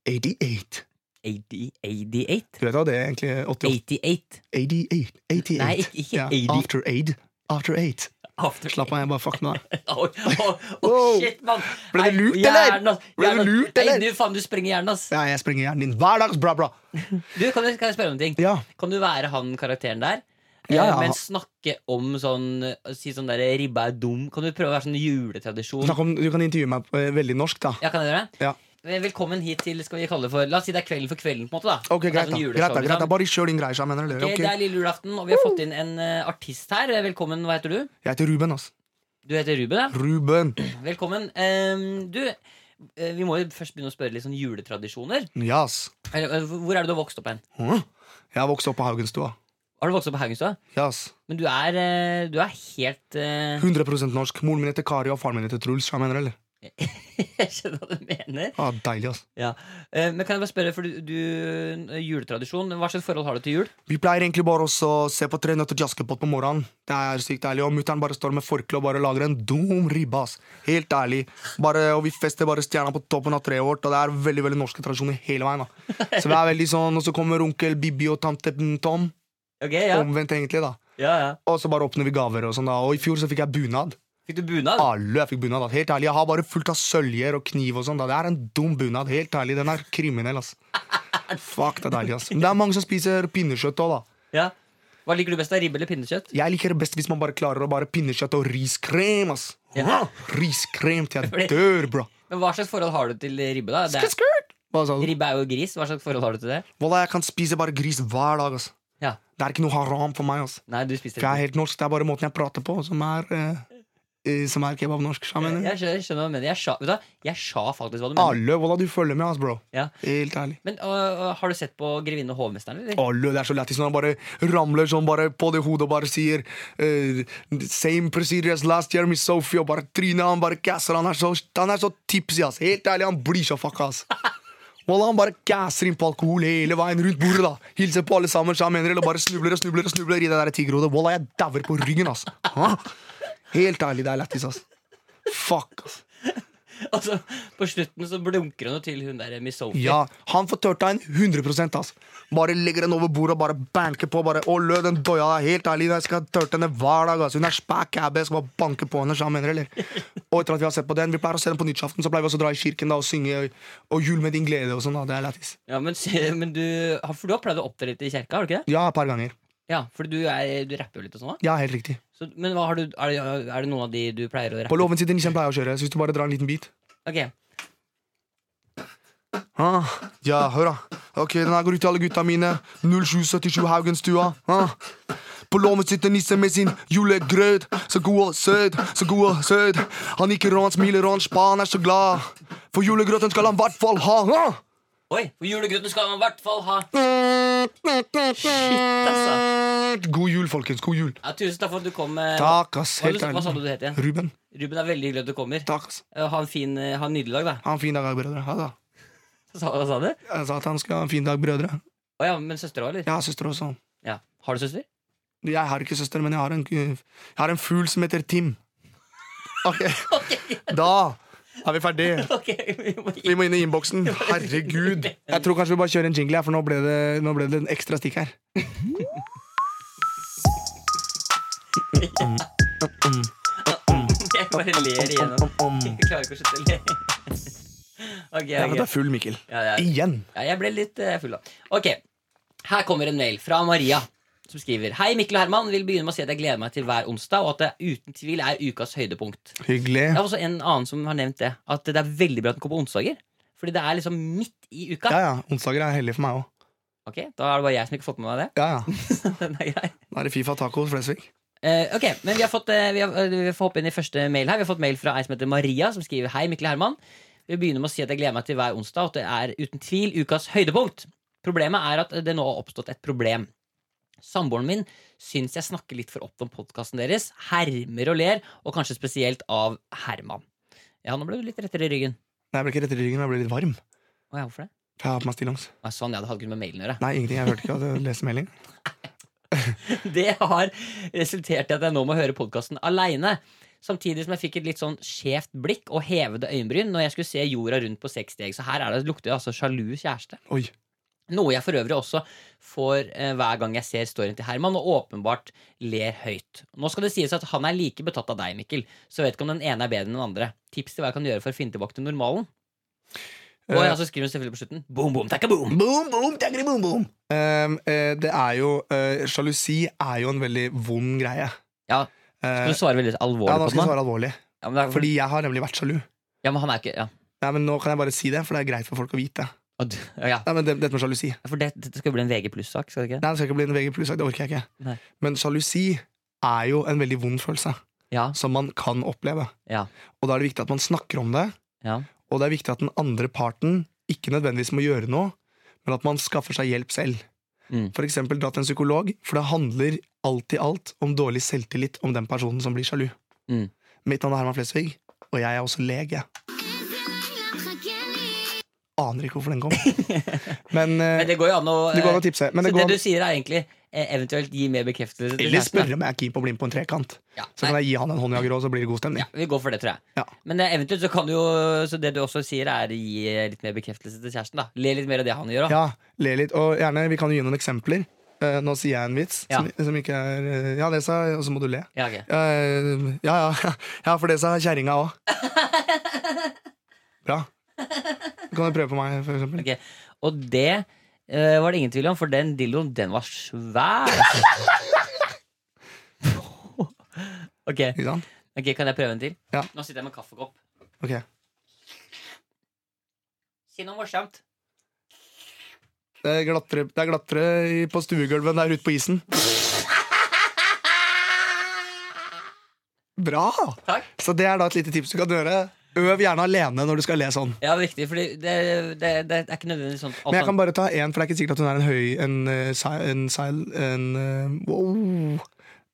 Speaker 2: 88.
Speaker 3: 80, 88?
Speaker 2: Du vet hva det er egentlig? 88.
Speaker 3: 88.
Speaker 2: 88. 88.
Speaker 3: Nei, ikke- ikke
Speaker 2: ja.
Speaker 3: 80.
Speaker 2: After aid. After eight.
Speaker 3: After
Speaker 2: Slapp av, jeg bare fuck med deg.
Speaker 3: Å, å, å,
Speaker 2: Wow.
Speaker 3: shit, mann!
Speaker 2: Ble det
Speaker 3: Nei,
Speaker 2: lurt,
Speaker 3: hjernen,
Speaker 2: eller?
Speaker 3: ass.
Speaker 2: Ble det
Speaker 3: Hjernen, ass.
Speaker 2: lurt, eller?
Speaker 3: Nei, du, faen, du sprenger hjernen, ass.
Speaker 2: Ja, jeg sprenger hjernen din hver dag, bra, bra.
Speaker 3: Du, kan, jeg- kan jeg spørre om en ting?
Speaker 2: Ja.
Speaker 3: Kan du være han karakteren der?
Speaker 2: Ja, ja.
Speaker 3: Eh, Men snakke om sånn eh, Si sånn der ribba er dum. Kan du prøve å være sånn juletradisjon?
Speaker 2: Snakk om, du kan intervjue meg på eh, veldig norsk, da.
Speaker 3: Ja, kan jeg gjøre det?
Speaker 2: Ja.
Speaker 3: Vel- Velkommen hit til skal vi kalle det for La oss si det er Kvelden for kvelden. på en måte da
Speaker 2: Ok,
Speaker 3: Det er
Speaker 2: greit,
Speaker 3: sånn
Speaker 2: da. Greit,
Speaker 3: juleshow,
Speaker 2: da, greit, da.
Speaker 3: liksom.
Speaker 2: Bare kjør din greie, mener dere.
Speaker 3: Ok, Det
Speaker 2: Ok.
Speaker 3: er lille julaften, og vi har fått inn en eh, artist her. Eh, Velkommen. Hva heter du?
Speaker 2: Jeg heter Ruben, ass.
Speaker 3: Du heter Ruben, ja.
Speaker 2: Ruben.
Speaker 3: Velkommen. Ehm, du, eh, vi må jo først begynne å spørre litt sånn juletradisjoner.
Speaker 2: Yes.
Speaker 3: Eller, eh, Hvor er det du har vokst opp hen?
Speaker 2: Hm? Jeg har vokst opp på Haugenstua.
Speaker 3: Har du vokst opp på Haugenstua?
Speaker 2: Yes.
Speaker 3: Men du er, eh, du er helt eh,
Speaker 2: 100 norsk. Moren min heter Kari, og faren min heter Truls. Jeg mener, eller?
Speaker 3: Jeg skjønner hva du mener.
Speaker 2: Ah, deilig, ass.
Speaker 3: Ja. Eh, Men kan jeg bare spørre, for du, du eh, Juletradisjon, hva slags forhold har du til jul?
Speaker 2: Vi pleier egentlig bare også å se på Tre nøtter til Askepott på morgenen. Det er sykt deilig, Og mutter'n bare står med forkle og bare lager en dum ribbe. ass. Helt ærlig. Bare, og vi fester bare stjerna på toppen av treet vårt, og det er veldig veldig norske tradisjoner hele veien. da. Så vi er veldig sånn, Og så kommer onkel Bibi og tante Tom.
Speaker 3: Ok, ja.
Speaker 2: Omvendt, egentlig. da.
Speaker 3: ja, ja.
Speaker 2: Og så bare åpner vi gaver. og sånn da. Og i fjor så fikk jeg bunad.
Speaker 3: Fikk du bunad?
Speaker 2: Alle jeg fikk bunad, da. Helt ærlig, Jeg har bare fullt av søljer og kniv og sånn. da. Det er en dum bunad. Helt ærlig, den er kriminell, ass. Fuck, det er deilig, ass. Men det er mange som spiser pinnekjøtt òg, da.
Speaker 3: Ja. Hva liker du best av ribbe eller pinnekjøtt?
Speaker 2: Jeg liker det best hvis man bare klarer å bare pinnekjøtt og riskrem, ass.
Speaker 3: Ja.
Speaker 2: Riskrem til
Speaker 3: Fordi-
Speaker 2: jeg dør, bro.
Speaker 3: Men hva slags forhold har du til ribbe, da? Det er,
Speaker 2: Hva sa du?
Speaker 3: ribbe er jo gris. Hva slags forhold har du til det?
Speaker 2: sånn, Wallah, jeg kan spise bare gris hver dag, ass.
Speaker 3: Ja.
Speaker 2: Det er ikke noe haram for meg, ass.
Speaker 3: Nei, du spiser
Speaker 2: For jeg
Speaker 3: ikke.
Speaker 2: er helt norsk, det er bare måten jeg prater på, som er, eh, eh, som er kebabnorsk. skjønner du?
Speaker 3: Jeg skjønner, jeg skjønner hva du mener. Jeg sa, vet du, hva? jeg sa faktisk hva du mener.
Speaker 2: Alle, wallah, du følger med, ass, bro.
Speaker 3: Ja.
Speaker 2: Helt ærlig.
Speaker 3: Men øh, øh, har du sett på Grevinne og hovmesteren, eller?
Speaker 2: Alle, det er så lættis når han bare ramler sånn bare på det hodet og bare sier eh, Same procedure as last year, Miss Sophie, og bare trynet han bare gasser. Han er så, han er så tipsy, ass. Helt ærlig, han blir så fucka, ass. Wallah, han bare gasser inn på alkohol hele veien rundt bordet, da. Hilser på alle sammen, så han mener, eller bare snubler og snubler og snubler i det der tiggerhodet. Wallah, jeg dauer på ryggen, ass. Hæ? Helt ærlig, det er lættis, ass. Fuck, ass.
Speaker 3: Og så Altså, på slutten så blunker hun jo til hun der Miss Sophie.
Speaker 2: Ja, han får tørta en 100 ass. Bare legger den over bordet og bare banker på. bare, Å, lø, den døya der, helt ærlig, jeg skal tørte henne hver dag. ass. Hun er spæk æbe, jeg skal bare banke på henne. så han mener, eller? Og etter at vi har sett på den, vi pleier å se den på nyttårsaften, så pleier vi også å dra i kirken da, og synge og jul med din glede og sånn. da, Det er lættis.
Speaker 3: Ja, men, s- men du, har- for du har pleid å opptre litt i kjerka, har du ikke det?
Speaker 2: Ja, et par ganger.
Speaker 3: Ja, for du, er, du rapper jo litt og sånn da.
Speaker 2: Ja, helt riktig.
Speaker 3: Så, men hva har du, er, det, er det noen av de du pleier
Speaker 2: På
Speaker 3: å rappe?
Speaker 2: låven sitter nissen pleier å kjøre, så hvis du bare drar en liten bit
Speaker 3: Ok,
Speaker 2: ah, Ja, hør, da. Ok, den her går ut til alle gutta mine. 0777 Haugenstua. Ah. På låven sitter nissen med sin julegrøt. Så god og søt, så god og søt. Han nikker og han smiler og han spa, han er så glad. For julegrøten skal han i hvert fall ha. Ah!
Speaker 3: Oi, for julegrøten skal man i hvert fall ha. altså.
Speaker 2: God jul, folkens. God jul.
Speaker 3: Ja, tusen takk for at du kom. eh,
Speaker 2: Takk, ass.
Speaker 3: hva,
Speaker 2: Helt
Speaker 3: hva, hva sa du
Speaker 2: ærlig.
Speaker 3: du het igjen?
Speaker 2: Ruben.
Speaker 3: Ruben er veldig hyggelig at du kommer.
Speaker 2: Takk, ass.
Speaker 3: Eh, Ha en fin, eh, ha en nydelig dag, da.
Speaker 2: Ha en fin dag, brødre. Ha det. da.
Speaker 3: Sa, hva sa du?
Speaker 2: Jeg sa at han skal ha en fin dag, brødre.
Speaker 3: Å ja, men søster òg, eller?
Speaker 2: Jeg har søster også.
Speaker 3: Ja. Har du søster?
Speaker 2: Jeg har ikke søster, men jeg har en, jeg har en fugl som heter Tim. Ok,
Speaker 3: Ok,
Speaker 2: da er vi ferdige.
Speaker 3: ok, vi må
Speaker 2: Vi må inn i innboksen. Herregud. Jeg tror kanskje vi bare kjører en jingle her, for nå ble det, nå ble det en ekstra stikk her.
Speaker 3: Jeg bare ler igjennom. Jeg klarer ikke å slutte å le. Ok,
Speaker 2: Jeg vet
Speaker 3: ok.
Speaker 2: det er full, Mikkel.
Speaker 3: Ja, ja.
Speaker 2: Igjen.
Speaker 3: Ja, jeg ble litt eh, full av. Ok, her kommer en mail fra Maria. Som skriver Hei, Mikkel og Herman. Vil begynne med å si at jeg gleder meg til hver onsdag, og at det uten tvil er ukas høydepunkt.
Speaker 2: Hyggelig.
Speaker 3: Det er også en annen som har nevnt det. At det er veldig bra at den kommer på onsdager. Fordi det er liksom midt i uka.
Speaker 2: Ja, ja. Onsdager er hellige for meg òg.
Speaker 3: Ok, Da er det bare jeg som ikke har fått med meg det.
Speaker 2: Ja, ja.
Speaker 3: Den er grei.
Speaker 2: Da er det Fifa taco hos Flesvig.
Speaker 3: Eh, ok, men vi, har fått, eh, vi, har, eh, vi får hoppe inn i første mail her. Vi har fått mail fra ei som heter Maria, som skriver Hei, Mikkel Herman. Vi begynner med å si at jeg gleder meg til hver onsdag, og at det er uten tvil ukas høydepunkt. Problemet er at det nå har oppstått et problem. Samboeren min syns jeg snakker litt for opp om podkasten deres, hermer og ler, og kanskje spesielt av Herman. Ja, nå ble du litt rettere i ryggen.
Speaker 2: Nei, jeg ble ikke rett i ryggen, jeg ble litt varm.
Speaker 3: Å ja, hvorfor det?
Speaker 2: Jeg har på meg stillongs.
Speaker 3: Å, sånn, ja, det hadde ikke noe med mailen å gjøre.
Speaker 2: Nei, ingenting. Jeg hørte ikke at jeg leste melding.
Speaker 3: Det har resultert i at jeg nå må høre podkasten aleine. Samtidig som jeg fikk et litt sånn skjevt blikk og hevede øyenbryn når jeg skulle se jorda rundt på seks steg. Så her er det, lukter det altså sjalu kjæreste.
Speaker 2: Oi.
Speaker 3: Noe jeg for øvrig også får eh, hver gang jeg ser storyen til Herman, og åpenbart ler høyt. Nå skal det sies at han er like betatt av deg, Mikkel, så jeg vet ikke om den ene er bedre enn den andre. Tips til hva jeg kan gjøre for å finne tilbake til normalen. Og
Speaker 2: Eh,
Speaker 3: ja, så skriver hun selvfølgelig på slutten boom, boom, takka boom.
Speaker 2: Boom, boom, taggeri, boom, boom. Ehm, eh, det er jo eh, Sjalusi er jo en veldig vond greie.
Speaker 3: Ja,
Speaker 2: Eh,
Speaker 3: Hun svarer veldig
Speaker 2: ja,
Speaker 3: alvorlig
Speaker 2: nå skal
Speaker 3: på
Speaker 2: jeg
Speaker 3: den. da.
Speaker 2: svare alvorlig.
Speaker 3: Ja, men, det er-
Speaker 2: Fordi jeg har nemlig vært sjalu.
Speaker 3: ja, men han er ikke Ja,
Speaker 2: Nei, men Nå kan jeg bare si det, for det er greit for folk å vite.
Speaker 3: Og du- ja
Speaker 2: Nei, men det, Dette med sjalusi Nei,
Speaker 3: for det, dette skal jo bli en VG pluss-sak, skal det ikke?
Speaker 2: det skal ikke bli en VG pluss-sak. Det orker jeg ikke.
Speaker 3: Nei.
Speaker 2: Men sjalusi er jo en veldig vond følelse
Speaker 3: Ja,
Speaker 2: som man kan oppleve.
Speaker 3: ja,
Speaker 2: Og da er det viktig at man snakker om det,
Speaker 3: ja.
Speaker 2: og det er viktig at den andre parten ikke nødvendigvis må gjøre noe, men at man skaffer seg hjelp selv.
Speaker 3: Mm.
Speaker 2: For eksempel dra til en psykolog, for det handler alt i alt om dårlig selvtillit om den personen som blir sjalu.
Speaker 3: Mm.
Speaker 2: Mitt navn er Herman Flesvig, og jeg er også lege. Aner ikke hvorfor den kom. Men, eh,
Speaker 3: Men det går jo an å
Speaker 2: det går an å tipse. Men
Speaker 3: Så
Speaker 2: det
Speaker 3: det,
Speaker 2: går an
Speaker 3: du sier, er egentlig eh, eventuelt gi mer bekreftelse til
Speaker 2: Eller
Speaker 3: kjæresten, da.
Speaker 2: spørre om jeg er keen på å bli med på en trekant.
Speaker 3: Ja,
Speaker 2: Så kan
Speaker 3: nei,
Speaker 2: jeg gi han en håndjager òg, så blir det god stemning.
Speaker 3: ja, vi går for det, tror jeg.
Speaker 2: Ja.
Speaker 3: Men eh, eventuelt så kan du jo Så det du også sier, er gi eh, litt mer bekreftelse til kjæresten. da Le litt mer av det han gjør. da
Speaker 2: Ja, le litt. Og gjerne, vi kan jo gi noen eksempler. Eh, nå sier jeg en vits
Speaker 3: Ja.
Speaker 2: som, som ikke er eh, Ja, det sa jeg, og så må du le.
Speaker 3: Ja, ok.
Speaker 2: Eh, ja, ja, ja, for det sa kjerringa òg. Bra. Kan du prøve på meg, for eksempel?
Speaker 3: Ok. Og det eh, var det ingen tvil om, for den dildoen, den var svær. ok,
Speaker 2: Ikke sant?
Speaker 3: ok, kan jeg prøve en til?
Speaker 2: Ja.
Speaker 3: Nå sitter jeg med en kaffekopp.
Speaker 2: Ok.
Speaker 3: Si noe morsomt.
Speaker 2: Det er glattere, det er glattere i- på stuegulvet enn det er ute på isen. Bra!
Speaker 3: Takk.
Speaker 2: Så det er da et lite tips du kan gjøre. Øv gjerne alene når du skal le sånn.
Speaker 3: Ja, viktig, fordi det, det, det er ikke nødvendigvis sånn at
Speaker 2: Men jeg
Speaker 3: han-
Speaker 2: kan bare ta én, for det er ikke sikkert at hun er en høy En, eh, si- en, seil- en, eh, Wow!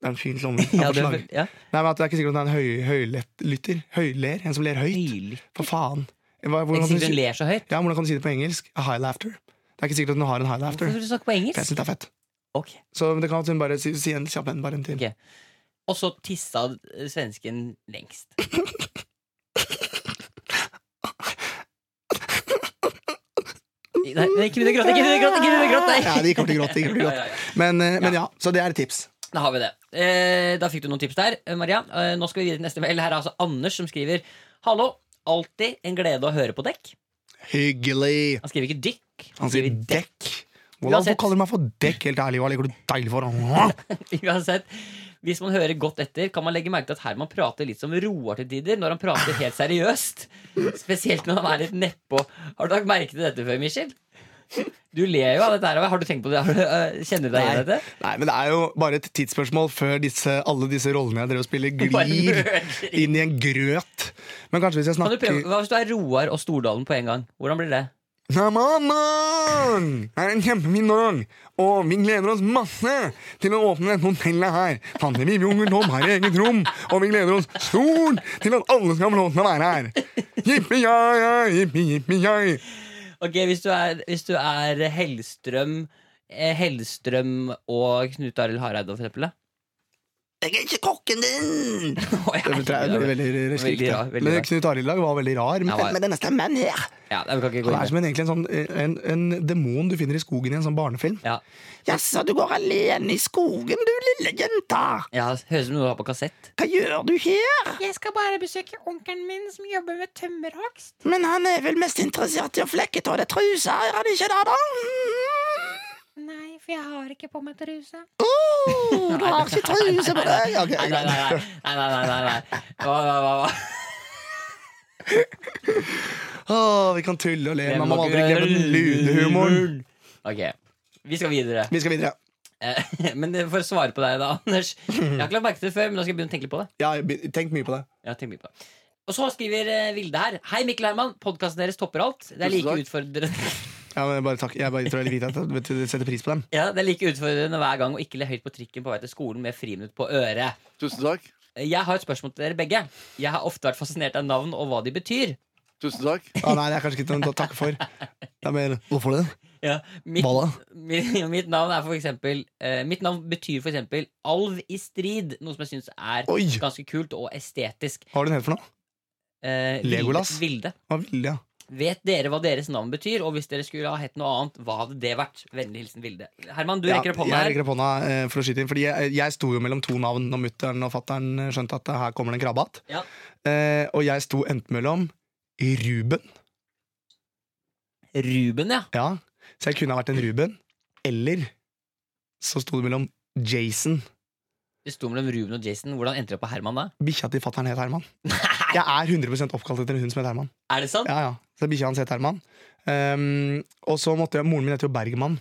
Speaker 2: Det er en fin lomme. Jeg
Speaker 3: ja,
Speaker 2: får slag.
Speaker 3: det, ja.
Speaker 2: Nei, men at Det er ikke sikkert at hun er en høy, høylytter. Høyler. En som ler høyt.
Speaker 3: Høylytt.
Speaker 2: For faen. Hva,
Speaker 3: Det er
Speaker 2: hvordan,
Speaker 3: ikke
Speaker 2: kan du
Speaker 3: sikkert hun
Speaker 2: si,
Speaker 3: ler så høyt.
Speaker 2: ja, hvordan kan du si det på engelsk? A high laughter. Det er ikke sikkert at hun har en high laughter.
Speaker 3: Hvorfor vil du snakke på
Speaker 2: For jeg
Speaker 3: engelsk?
Speaker 2: synes det er fett.
Speaker 3: Ok.
Speaker 2: Så det kan at hun bare si, si en kjapp en, bare en til.
Speaker 3: Ok. Og så tissa eh, svensken lengst. Nei, nei, ikke begynn å gråte! Ikke begynn å gråte! Ikke begynn å gråte nei.
Speaker 2: Ja, de kommer til å gråte. De kommer til å
Speaker 3: Ja, ja,
Speaker 2: gråte.
Speaker 3: ja.
Speaker 2: Men, eh, men ja, så det er et tips.
Speaker 3: Da har vi det. Eh, da fikk du noen tips der, eh, Maria. Eh, nå skal vi videre til neste mail. Her er altså Anders som skriver Hallo. Alltid en glede å høre på dekk.
Speaker 2: Hyggelig.
Speaker 3: Han skriver ikke dykk.
Speaker 2: Han sier dekk. Hvordan
Speaker 3: Uansett.
Speaker 2: hvorfor kaller du meg for dekk, helt ærlig? Hva liker du deilig for?
Speaker 3: Uansett, hvis man hører godt etter, kan man legge merke til at Herman prater litt som Roar til tider, når han prater helt seriøst. Spesielt når han er litt nedpå. Har du lagt merke til dette før, Michel? Du ler jo av dette her. Har du tenkt på det? Har du, øh, kjenner du deg igjen i dette?
Speaker 2: Nei, men det er jo bare et tidsspørsmål før disse, alle disse rollene jeg drev og spiller,
Speaker 3: Bare
Speaker 2: glir
Speaker 3: mørker.
Speaker 2: inn i en grøt. Men kanskje hvis jeg
Speaker 3: Kan du
Speaker 2: snakker
Speaker 3: prøve, hva hvis du er Roar og Stordalen på en gang? Hvordan blir det?
Speaker 2: Namaman er en kjempefin dag, og vi gleder oss masse til å åpne dette hotellet her. Pandemib Jungle Tom har eget rom, og vi gleder oss stort til at alle skal få lov til å være her. Jippi jai, jippi jippi jai.
Speaker 3: Ok, hvis du er, hvis du er Hellstrøm eh, Hellstrøm og Knut Arild Hareide, for eksempel. da?
Speaker 1: Jeg er ikke kokken din!
Speaker 3: Å, jeg-
Speaker 2: Det er veldig, veldig restrikt.
Speaker 3: Veldig rar, veldig
Speaker 2: Men
Speaker 3: rar.
Speaker 2: Knut Arild i dag var veldig rar.
Speaker 3: Ja,
Speaker 2: Men
Speaker 3: hva-
Speaker 1: Med denne stemmen her.
Speaker 3: Ja, nei, vi kan ikke gå
Speaker 2: han er som
Speaker 3: inn i det.
Speaker 2: en, egentlig en, sånn, en, en demon du finner i skogen i en sånn barnefilm.
Speaker 3: ja.
Speaker 1: Jaså, du går alene i skogen, du lille jenta.
Speaker 3: ja, Høres ut som noe du har på kassett.
Speaker 1: Hva gjør du her?
Speaker 6: Jeg skal bare besøke onkelen min som jobber med tømmerhogst.
Speaker 1: Men han er vel mest interessert i å flekke av deg trusa, er han ikke det, da? Mm.
Speaker 6: Nei, for jeg har ikke på meg truse.
Speaker 1: Oh, du har ikke truse på deg! Ok,
Speaker 3: Nei, nei, nei. nei, nei, nei, nei, nei, nei. Hva, hva, hva, hva?
Speaker 2: Åh, vi kan tulle og le, men man må aldri glemme den lune humoren.
Speaker 3: Ok, vi skal videre.
Speaker 2: Vi skal videre.
Speaker 3: Eh, Men for å svare på deg, da, Anders. Jeg har ikke lagt merke til det før, men nå skal jeg begynne å tenke litt på det.
Speaker 2: Ja, tenk mye på det.
Speaker 3: Ja, tenk mye på det. Og så skriver eh, Vilde her. Hei, Mikkel Herman. Podkasten deres topper alt. Det er like
Speaker 2: Tusen
Speaker 3: utfordrende
Speaker 2: Ja, men bare takk. Jeg bare tror jeg vil vite at vet du, du setter pris på dem.
Speaker 3: Ja, Det er like utfordrende hver gang å ikke le høyt på trikken på vei til skolen med friminutt på øret. Eh,
Speaker 7: Tusen takk.
Speaker 3: Jeg har et spørsmål til dere begge. Jeg har ofte vært fascinert av navn og hva de betyr.
Speaker 7: Tusen takk.
Speaker 2: Å nei, det er kanskje ikke noe å takke for. Det er mer Hvorfor det?
Speaker 3: Ja, mitt,
Speaker 2: Hva da?
Speaker 3: mitt, mitt navn er for eksempel eh, Mitt navn betyr for eksempel alv i strid, noe som jeg syns er
Speaker 2: Oi!
Speaker 3: ganske kult og estetisk.
Speaker 2: Hva har du den het for noe?
Speaker 3: Eh, Vilde-
Speaker 2: Legolas?
Speaker 3: Vilde.
Speaker 2: Hva vil ja.
Speaker 3: Vet dere hva deres navn betyr? Og hvis dere skulle ha hett noe annet, hva hadde det vært? Vennlig hilsen Vilde. Herman, du
Speaker 2: Ja,
Speaker 3: rekker opp hånda
Speaker 2: Jeg
Speaker 3: her.
Speaker 2: rekker opp hånda eh, for å skyte inn, fordi jeg, jeg sto jo mellom to navn når mutter'n og fatter'n skjønte at her kommer det en krabbehatt.
Speaker 3: Ja.
Speaker 2: Eh, og jeg sto enten mellom Ruben,
Speaker 3: Ruben, ja.
Speaker 2: ja, så jeg kunne ha vært en Ruben, eller så sto det mellom Jason.
Speaker 3: Det sto mellom Ruben og Jason. Hvordan endte det på Herman da?
Speaker 2: Bikkja til fatter'n het Herman. Jeg er 100 oppkalt etter en hund som het Herman.
Speaker 3: Er det sant?
Speaker 2: Ja, ja. Så bikkja hans het Herman. Ehm, og så måtte jeg, moren min heter jo Bergman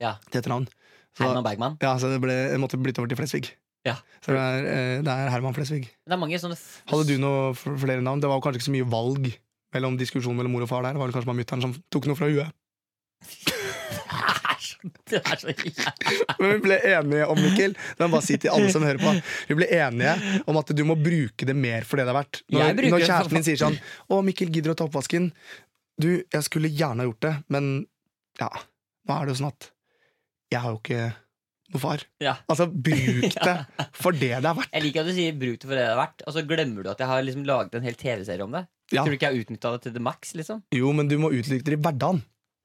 Speaker 3: Ja.
Speaker 2: til etternavn. Så,
Speaker 3: Herman Bergman.
Speaker 2: ja, så det ble, jeg måtte bytte over til Flesvig.
Speaker 3: Ja.
Speaker 2: Så det er, eh, det er Herman Flesvig.
Speaker 3: Det er mange sånne f-
Speaker 2: Hadde du noe f- flere navn? Det var jo kanskje ikke så mye valg mellom diskusjon mellom mor og far der. Det var vel kanskje bare mutter'n som tok noe fra huet.
Speaker 3: Det er så- Det er så jævlig.
Speaker 2: Men vi ble enige om Mikkel, det må jeg bare si til alle som hører på Vi ble enige om at du må bruke det mer for det det er verdt.
Speaker 3: Jeg
Speaker 2: Når,
Speaker 3: bruker
Speaker 2: når
Speaker 3: det for
Speaker 2: kjæresten din sier sånn 'Å, Mikkel, gidder du å ta oppvasken?' Du, jeg skulle gjerne ha gjort det, men ja, nå er det jo sånn at jeg har jo ikke noe far.
Speaker 3: Ja.
Speaker 2: Altså, bruk det for det det er verdt.
Speaker 3: Jeg liker at du sier 'bruk det for det det er verdt', og så glemmer du at jeg har liksom laget en hel TV-serie om det.
Speaker 2: Ja.
Speaker 3: Tror du ikke jeg har utnytta det til the max? liksom
Speaker 2: Jo, men du må utnytte det i hverdagen.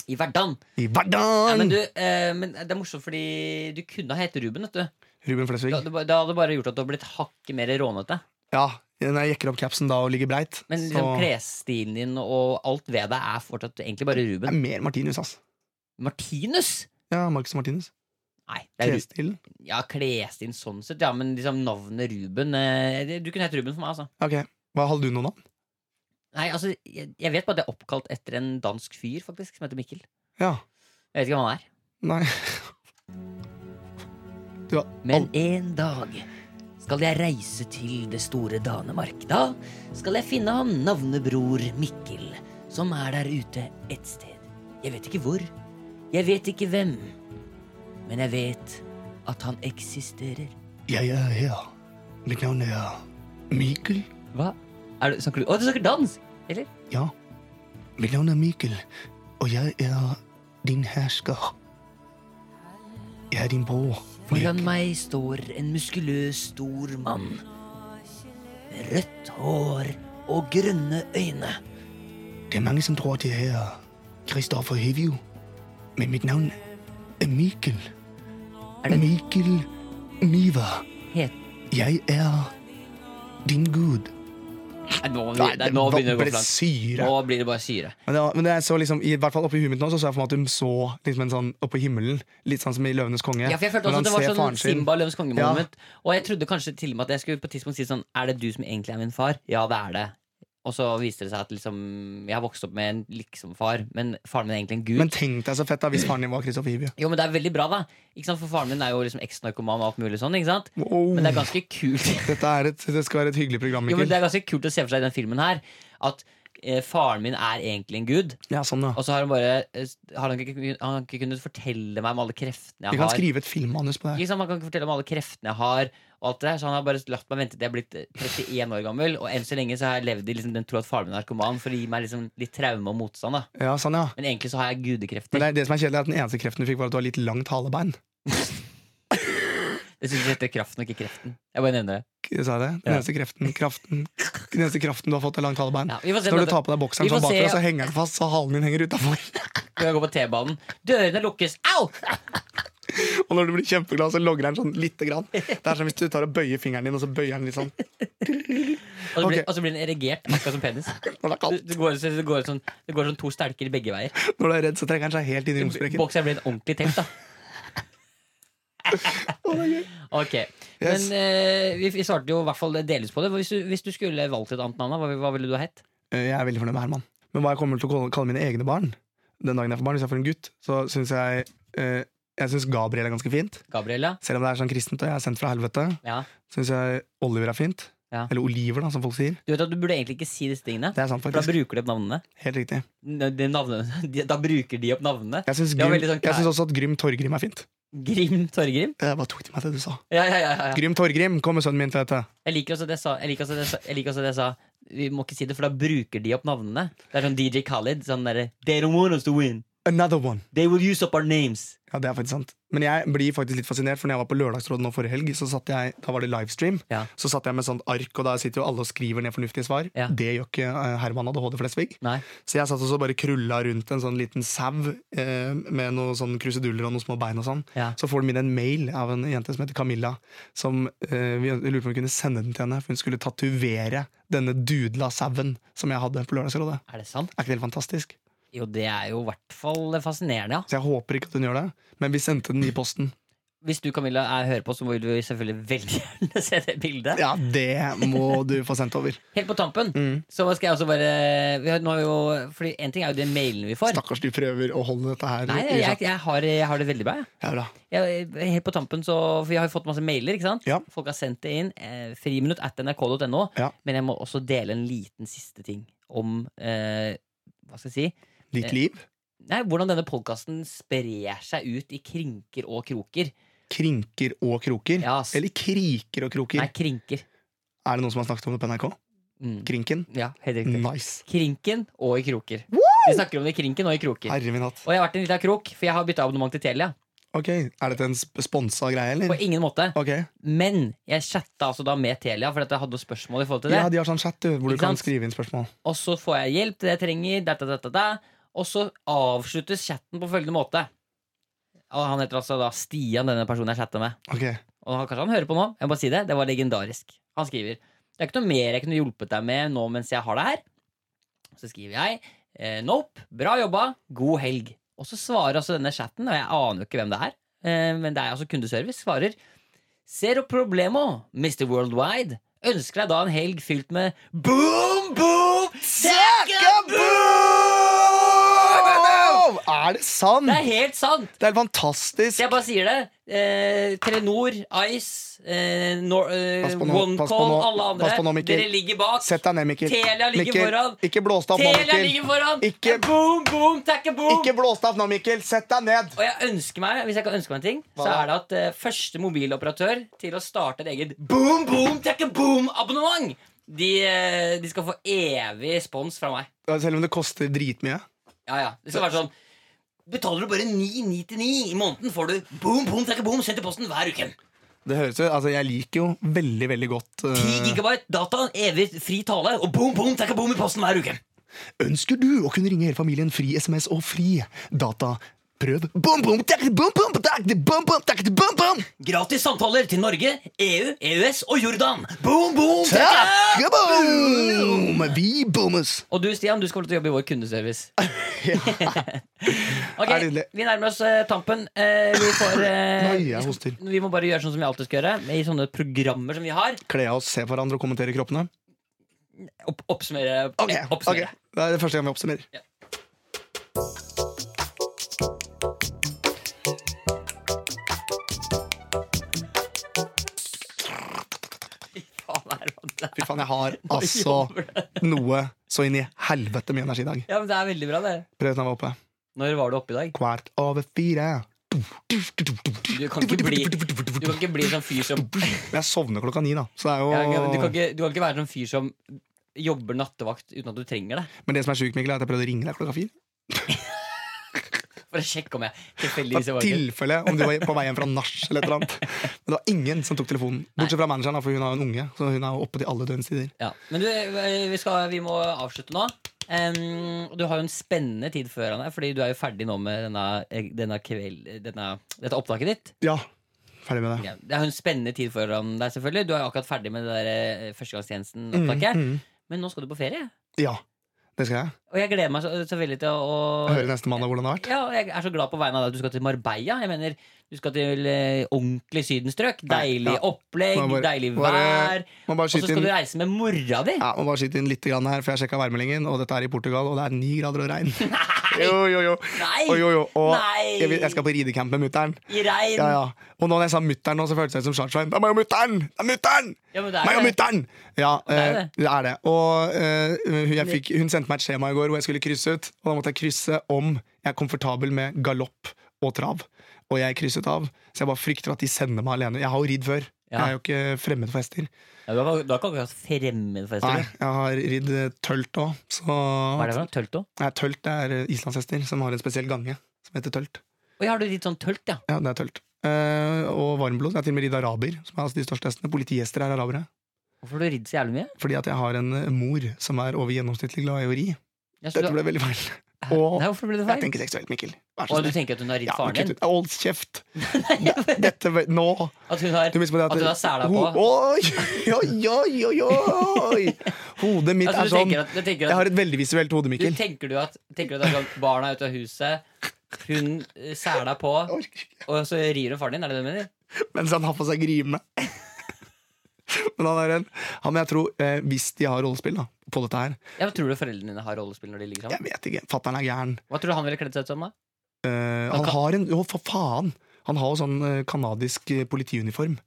Speaker 3: I hverdagen.
Speaker 2: I
Speaker 3: Ja, men,
Speaker 2: hverdagen!
Speaker 3: du, eh, men det er morsomt, fordi du kunne ha hett Ruben. vet du
Speaker 2: Ruben Flesvig.
Speaker 3: Det hadde ba- det hadde bare gjort at du hadde blitt hakket mer rånete.
Speaker 2: Ja, når jeg jekker opp capsen da og ligger breit,
Speaker 3: Men liksom,
Speaker 2: så
Speaker 3: klesstilen din og alt ved deg er fortsatt egentlig bare
Speaker 2: det
Speaker 3: Ruben.
Speaker 2: er mer Martinus, ass.
Speaker 3: Martinus!
Speaker 2: Ja, Marcus Martinus.
Speaker 3: Nei, det er Ru-
Speaker 2: Klesstilen.
Speaker 3: ja, klesstilen sånn sett, ja, men liksom navnet Ruben eh, det- Du kunne hett Ruben for meg, altså.
Speaker 2: Ok, hva hadde du noen navn?
Speaker 3: Nei, altså, jeg, jeg vet bare at det er oppkalt etter en dansk fyr, faktisk, som heter Mikkel.
Speaker 2: Ja.
Speaker 3: Jeg vet ikke hvem han er.
Speaker 2: Nei. Du har
Speaker 3: Men en dag skal jeg reise til det store Danemark. Da skal jeg finne han navnebror Mikkel, som er der ute et sted. Jeg vet ikke hvor. Jeg vet ikke hvem. Men jeg vet at han eksisterer.
Speaker 2: Jeg er her. Mitt navn er Mikkel.
Speaker 3: Hva? Er du, snakker du Å, du snakker dansk! Eller?
Speaker 2: Ja. Mitt navn er Mikkel, og jeg er din hersker. Jeg er din bror.
Speaker 3: Foran meg står en muskuløs, stor mann. Med rødt hår og grønne øyne.
Speaker 2: Det er mange som tror, det her Kristoffer Hevju. Men mitt navn er Mikkel.
Speaker 3: Er det-
Speaker 2: Mikkel Niva.
Speaker 3: Het
Speaker 2: Jeg er din gud.
Speaker 3: Nei, nå, nei, nå begynner det å gå for langt.
Speaker 2: syre.
Speaker 3: Nå blir det bare syre.
Speaker 2: Men, det var, men det jeg så liksom, i hvert fall oppi huet mitt nå, så så jeg for meg at hun så liksom en sånn oppe i himmelen. Litt sånn som i Løvenes konge.
Speaker 3: Ja, for jeg følte
Speaker 2: Når han
Speaker 3: også at det
Speaker 2: ser
Speaker 3: var sånn
Speaker 2: faren sin.
Speaker 3: Simba løvens konge-moment. Og jeg trodde kanskje til og med at jeg skulle på et tidspunkt si sånn Er det du som egentlig er min far? Ja, det er det. Og så viste det seg at liksom jeg har vokst opp med en liksom-far, men faren min er egentlig en gud.
Speaker 2: Men tenk deg så fett da hvis faren din var Kristoffer Hivju.
Speaker 3: jo, men det er veldig bra, da. Ikke sant? For faren min er jo liksom eks-narkoman og alt mulig sånn. ikke sant?
Speaker 2: Wow.
Speaker 3: Men det er ganske kult
Speaker 2: Dette er et, det skal være et hyggelig program,
Speaker 3: Jo, men
Speaker 2: Mikkel.
Speaker 3: det er ganske kult å se for seg i den filmen her at eh, faren min er egentlig en gud.
Speaker 2: Ja, sånn, ja.
Speaker 3: Og så har han bare eh, har han, ikke, kun- han har ikke kunnet fortelle meg om alle kreftene
Speaker 2: Vi
Speaker 3: jeg
Speaker 2: kan
Speaker 3: har.
Speaker 2: skrive et filmmanus på det. her.
Speaker 3: Ikke sant? Man kan ikke fortelle om alle kreftene jeg har. Og alt det der, så han har bare latt meg vente til jeg er blitt eh, 31 år gammel. Og enn så lenge så har jeg levd i liksom, den tro at faren min er narkoman for å gi meg liksom, litt traume og motstand. Da.
Speaker 2: Ja, sånn, ja.
Speaker 3: Men egentlig så har jeg
Speaker 2: Men
Speaker 3: gudekrefter.
Speaker 2: det, er- det som er kjedelig, er at den eneste kreften du fikk, var at du har litt langt halebein.
Speaker 3: Jeg synes det heter kraften og ikke kreften. Jeg bare nevner det.
Speaker 2: K- Sa jeg det? Den eneste kreften, kraften, den eneste kraften du har fått, er langt halebein.
Speaker 3: Ja, vi får se om
Speaker 2: Når du
Speaker 3: dette-
Speaker 2: tar på deg bokseren
Speaker 3: Vi får
Speaker 2: sånn bakfra,
Speaker 3: se.
Speaker 2: så henger den fast, så halen din henger utafor.
Speaker 3: Når jeg går på T-banen. Dørene lukkes! Au!
Speaker 2: Og når du blir kjempeglad, så logrer den sånn lite grann. Det er som hvis du tar og bøyer fingeren din, og så bøyer den litt sånn
Speaker 3: Og så blir,
Speaker 2: Ok.
Speaker 3: og så blir den erigert, akkurat som penis.
Speaker 2: når det er
Speaker 3: Det
Speaker 2: kaldt.
Speaker 3: det går, så det, går sånn, det går sånn to stelker begge veier.
Speaker 2: Når du er redd, så trekker den seg helt inn i romsprekken.
Speaker 3: Bokseren blir et ordentlig telt, da. Ok,
Speaker 2: Yes.
Speaker 3: Men eh, vi, vi svarte jo i hvert fall delvis på det. Hvis du, hvis du skulle valgt et annet navn, da, hva, hva ville du ha hett?
Speaker 2: Eh, Jeg er veldig fornøyd med Herman. Men hva jeg kommer til å kalle- kalle mine egne barn den dagen jeg får barn, hvis jeg får en gutt, så syns jeg eh, Jeg synes Gabriel er ganske fint.
Speaker 3: Gabriella?
Speaker 2: Selv om det er sånn kristent og jeg er sendt fra helvete,
Speaker 3: Ja.
Speaker 2: syns jeg Oliver er fint.
Speaker 3: Ja.
Speaker 2: Eller Oliver, da, som folk sier.
Speaker 3: Du vet at du burde egentlig ikke si disse tingene.
Speaker 2: Det er sant,
Speaker 3: For da
Speaker 2: faktisk.
Speaker 3: bruker de opp navnene.
Speaker 2: Helt riktig.
Speaker 3: N- De navnene de, da bruker de opp navnene.
Speaker 2: Jeg syns
Speaker 3: Det var
Speaker 2: Grym,
Speaker 3: veldig sånn
Speaker 2: jeg synes også at Grym Torgrim er fint. Eh,
Speaker 3: Grim Torgrim.
Speaker 2: Jeg bare tok til meg det du sa.
Speaker 3: Ja, ja, ja, ja, ja.
Speaker 2: Grym Torgrim, kom med sønnen min, vet du.
Speaker 3: Jeg liker også det jeg sa. Jeg liker også det jeg sa, jeg liker også det jeg sa. Vi må ikke si det, for da bruker de opp navnene. Det er sånn DJ Khalid. Sånn derre They don't want us to win.
Speaker 2: Another one.
Speaker 3: They will use up our names.
Speaker 2: Ja, det er faktisk sant. Men jeg blir faktisk litt fascinert, for når jeg var på Lørdagsrådet nå forrige helg, så satt jeg, da var det livestream,
Speaker 3: Ja.
Speaker 2: så satt jeg med sånt ark, og da sitter jo alle og skriver ned fornuftige svar.
Speaker 3: Ja.
Speaker 2: Det gjør ikke eh, Herman ADHD Flesvig.
Speaker 3: Nei.
Speaker 2: Så jeg satt også bare krulla rundt en sånn liten sau eh, med noen sånn kruseduller og noen små bein og sånn.
Speaker 3: Ja.
Speaker 2: Så får de inn en mail av en jente som heter Camilla, som eh, vi lurte på om vi kunne sende den til henne, for hun skulle tatovere denne dudla sauen som jeg hadde på Lørdagsrådet.
Speaker 3: Er det sant?
Speaker 2: Er ikke det helt fantastisk?
Speaker 3: Jo, det er jo i hvert fall fascinerende, ja.
Speaker 2: Så jeg håper ikke at hun gjør det, men vi sendte den i posten.
Speaker 3: Hvis du, Camilla, er, hører på, så vil vi selvfølgelig veldig gjerne se det bildet.
Speaker 2: Ja, det må du få sendt over.
Speaker 3: Helt på tampen,
Speaker 2: Mm.
Speaker 3: så skal jeg også bare vi har, nå har vi jo, Fordi En ting er jo de mailene vi får.
Speaker 2: Stakkars, du prøver å holde dette her
Speaker 3: Nei, jeg, jeg, har, jeg har det veldig bra. jeg.
Speaker 2: Ja, bra.
Speaker 3: Jeg, helt på tampen, så, For jeg har jo fått masse mailer. ikke sant?
Speaker 2: Ja.
Speaker 3: Folk har sendt det inn. Eh, friminutt at nrk.no.
Speaker 2: Ja.
Speaker 3: Men jeg må også dele en liten siste ting om eh, Hva skal jeg si?
Speaker 2: Ditt liv
Speaker 3: Nei, Hvordan denne podkasten sprer seg ut i krinker og kroker.
Speaker 2: krinker og kroker.
Speaker 3: Ja, ass.
Speaker 2: Eller kriker og kroker.
Speaker 3: Nei, krinker.
Speaker 2: Er det noen som har snakket om det på NRK?
Speaker 3: Mm.
Speaker 2: Krinken?
Speaker 3: Ja, helt riktig.
Speaker 2: Nice.
Speaker 3: Krinken og i kroker. Vi snakker om det i krinken og i kroker.
Speaker 2: Herre min hatt.
Speaker 3: Og jeg har vært en liten krok, for jeg har bytta abonnement til Telia.
Speaker 2: Ok, Er dette en sp- sponsa greie,
Speaker 3: På
Speaker 2: eller?
Speaker 3: ingen måte.
Speaker 2: Ok,
Speaker 3: Men jeg chatta altså da med Telia, for at jeg hadde noen spørsmål i forhold til det.
Speaker 2: ja, De har sånn chat du, hvor du
Speaker 3: Ikke
Speaker 2: kan
Speaker 3: sant?
Speaker 2: skrive inn spørsmål.
Speaker 3: Og så får jeg hjelp til det jeg trenger, da, da, da, da, da. og så avsluttes chatten på følgende måte. Og han heter altså da Stian, denne personen jeg chatta med.
Speaker 2: Ok,
Speaker 3: Og han, kanskje han hører på nå. Jeg må bare si Det det var legendarisk. Han skriver Det er ikke noe mer jeg kunne hjulpet deg med nå mens jeg har deg her. Så skriver jeg eh, Nope. Bra jobba. God helg. Og så svarer altså denne chatten, og jeg aner jo ikke hvem det er, eh, men det er altså kundeservice, svarer Zero problemo, Mr. Worldwide. Ønsker deg da en helg fylt med boom, boom,
Speaker 2: Boom! Er det sant?!
Speaker 3: Det er helt sant!
Speaker 2: Det er
Speaker 3: Så
Speaker 2: fantastisk!
Speaker 3: jeg bare sier det. Eh, Telenor, Ice, eh, Nor eh,
Speaker 2: Pass på nå, pass på
Speaker 3: OneCall,
Speaker 2: nå,
Speaker 3: alle andre.
Speaker 2: pass på nå, Mikkel.
Speaker 3: Dere ligger bak.
Speaker 2: Sett deg ned, Mikkel.
Speaker 3: Telia ligger
Speaker 2: Mikkel,
Speaker 3: foran.
Speaker 2: Ikke blås deg opp nå,
Speaker 3: Telia ligger
Speaker 2: Mikkel.
Speaker 3: foran! Eh,
Speaker 2: Ikke-
Speaker 3: Boom, boom, takke boom!
Speaker 2: Ikke blås deg opp nå, Mikkel. Sett deg ned!
Speaker 3: Og jeg ønsker meg, hvis jeg kan ønske meg en ting,
Speaker 2: Hva
Speaker 3: så
Speaker 2: da?
Speaker 3: er det at eh, første mobiloperatør til å starte et eget boom, boom, takke boom-abonnement, de, eh, de skal få evig spons fra meg.
Speaker 2: Selv om det koster dritmye.
Speaker 3: Ja, ja. Det skal være sånn Betaler du bare 9,99 i måneden, får du boom, boom, takke boom sendt i posten hver uke.
Speaker 2: Det høres jo, altså Jeg liker jo veldig veldig godt eh,
Speaker 3: 10 gigabyte data, evig fri tale, og boom, boom, takke boom i posten hver uke.
Speaker 2: Ønsker du å kunne ringe hele familien fri SMS og fri data? Prøv. Boom, boom, tak, boom, boom, tak, boom, boom, tak, boom, boom.
Speaker 3: Gratis samtaler til Norge, E EU, EØS og Jordan. Boom, boom,
Speaker 2: Tak, boom. Vi bommes.
Speaker 3: Og du, Stian, du skal få lov til å jobbe i vår kundeservice. ok,
Speaker 2: Er det det?
Speaker 3: Vi nærmer oss eh, tampen. Eh, vi, får, eh,
Speaker 2: Nei, jeg hoster.
Speaker 3: vi må bare gjøre sånn som vi alltid skal gjøre, i sånne programmer som vi har.
Speaker 2: Kle av oss, se på hverandre og kommentere kroppene.
Speaker 3: Opp, oppsummere.
Speaker 2: Ok,
Speaker 3: eh,
Speaker 2: ok.
Speaker 3: oppsummere.
Speaker 2: Det er det første gang vi oppsummerer.
Speaker 3: Faen, Herman, det er-
Speaker 2: Fy faen, jeg har altså noe så inn i helvete mye energi i dag.
Speaker 3: Ja, men det er veldig bra, det.
Speaker 2: Prøv å være oppe.
Speaker 3: Når var du oppe i dag?
Speaker 2: Kvart over fire.
Speaker 3: Du kan ikke bli, du kan ikke bli sånn fyr som
Speaker 2: Men Jeg sovner klokka ni, da. Så det er jo
Speaker 3: ja, du, kan ikke, du kan ikke være sånn fyr som jobber nattevakt uten at du trenger det.
Speaker 2: Men det som er sjukt, Mikkel, er at jeg prøvde å ringe deg klokka fire.
Speaker 3: For å sjekke om jeg
Speaker 2: Det
Speaker 3: tilfeldigvis
Speaker 2: var
Speaker 3: var det.
Speaker 2: tilfelle om du var på vei hjem fra nach eller et eller annet. Men det var ingen som tok telefonen. Bortsett fra manageren, da, for hun er jo en unge. Så hun er jo oppe til alle døgnstider.
Speaker 3: Ja. Men du, eh, vi, skal, vi må avslutte nå. Em, du har jo en spennende tid foran deg, Fordi du er jo ferdig nå med denne, eh, denne kveld, denne, dette opptaket ditt.
Speaker 2: Ja, ferdig med det.
Speaker 3: Ja, Det er jo en spennende tid foran deg, selvfølgelig. Du er jo akkurat ferdig med det der eh, førstegangstjenesten-opptaket.
Speaker 2: Mm.
Speaker 3: Men nå skal du på ferie.
Speaker 2: Ja, det skal jeg.
Speaker 3: Og jeg gleder meg så, så veldig til å
Speaker 2: Høre neste mandag hvordan det har vært.
Speaker 3: Ja, og jeg er så glad på vegne av deg at du skal til Marbella. Jeg mener, Du skal til eh, ordentlig sydenstrøk. Deilig
Speaker 2: ja.
Speaker 3: opplegg,
Speaker 2: Må bare-
Speaker 3: deilig
Speaker 2: må
Speaker 3: vær.
Speaker 2: bare- må bare
Speaker 3: Og så
Speaker 2: skyte
Speaker 3: skal
Speaker 2: inn-
Speaker 3: du reise med mora di!
Speaker 2: Ja, må bare skyte inn litt grann her, for jeg sjekka værmeldingen, og dette er i Portugal, og det er ni grader og regn. Jo, jo, jo.
Speaker 3: Nei!
Speaker 2: Og, jo, jo. og
Speaker 3: Nei!
Speaker 2: jeg, vil- jeg skal på ridecamp med mutter'n.
Speaker 3: I regn!
Speaker 2: Ja, ja. Og nå når jeg sa mutter'n, nå, så føltes jeg som Charlsveien. Det er meg og mutter'n! Det er mutter'n!
Speaker 3: Ja, men det er
Speaker 2: meg og
Speaker 3: det.
Speaker 2: mutter'n! Ja,
Speaker 3: er
Speaker 2: eh, det er det. Og eh, hun- jeg fikk, hun sendte meg et skjema i går hvor jeg skulle krysse ut, og da måtte jeg krysse om jeg er komfortabel med galopp og trav. Og jeg krysset av, så jeg bare frykter at de sender meg alene. Jeg har jo ridd før. Jeg
Speaker 3: Ja.
Speaker 2: er jo ikke fremmed for hester.
Speaker 3: Ja, du har du har ikke akkurat fremmed for
Speaker 2: Nei,
Speaker 3: hester? du.
Speaker 2: jeg har ridd eh, tølt òg, så
Speaker 3: Hva er det for noe? Tølt òg?
Speaker 2: Nei, tølt er eh, islandshester som har en spesiell gange som heter tølt.
Speaker 3: Oi, har du litt sånn tølt, ja?
Speaker 2: Ja, det er tølt. Eh, og varmblod. Jeg har til og med ridd araber, som er altså de største hestene. Politihester er arabere.
Speaker 3: Hvorfor har du ridd så jævlig mye?
Speaker 2: Fordi at jeg har en eh, mor som er over gjennomsnittlig glad i å ri.
Speaker 3: Jeg
Speaker 2: Dette
Speaker 3: skulle-
Speaker 2: ble veldig feil. Og
Speaker 3: Nei, hvorfor ble det
Speaker 2: jeg
Speaker 3: feil?
Speaker 2: tenker seksuelt, Mikkel. Vær så
Speaker 3: Og du
Speaker 2: snill.
Speaker 3: tenker at hun har ridd
Speaker 2: Ja,
Speaker 3: faren
Speaker 2: kutt
Speaker 3: din?
Speaker 2: ut. Hold kjeft! Dette ble- Nå!
Speaker 3: At hun har,
Speaker 2: Du minst på det at
Speaker 3: at hun har sæla på?
Speaker 2: Ho- Oi, oi, oi, oi, oi! Hodet mitt er
Speaker 3: Altså, du
Speaker 2: sånn
Speaker 3: tenker at, du tenker
Speaker 2: Jeg
Speaker 3: at,
Speaker 2: har et veldig visuelt hode,
Speaker 3: du
Speaker 2: Mikkel.
Speaker 3: tenker du at, tenker du at det er sånn, barna er ute av huset, hun eh, sæla på,
Speaker 2: Jeg orker ikke.
Speaker 3: og så rir hun faren din? Er det det du mener?
Speaker 2: mens han har på seg grime. men han er en han, men jeg tror, eh, Hvis de har rollespill da, på dette her
Speaker 3: Ja, men Tror du foreldrene dine har rollespill når de ligger
Speaker 2: Jeg
Speaker 3: sammen?
Speaker 2: vet ikke. Fatter'n er gæren.
Speaker 3: Hva tror du han ville kledd seg ut som, da?
Speaker 2: Eh, han
Speaker 3: kan-
Speaker 2: har en Å, for faen! Han har jo sånn eh, kanadisk eh, politiuniform.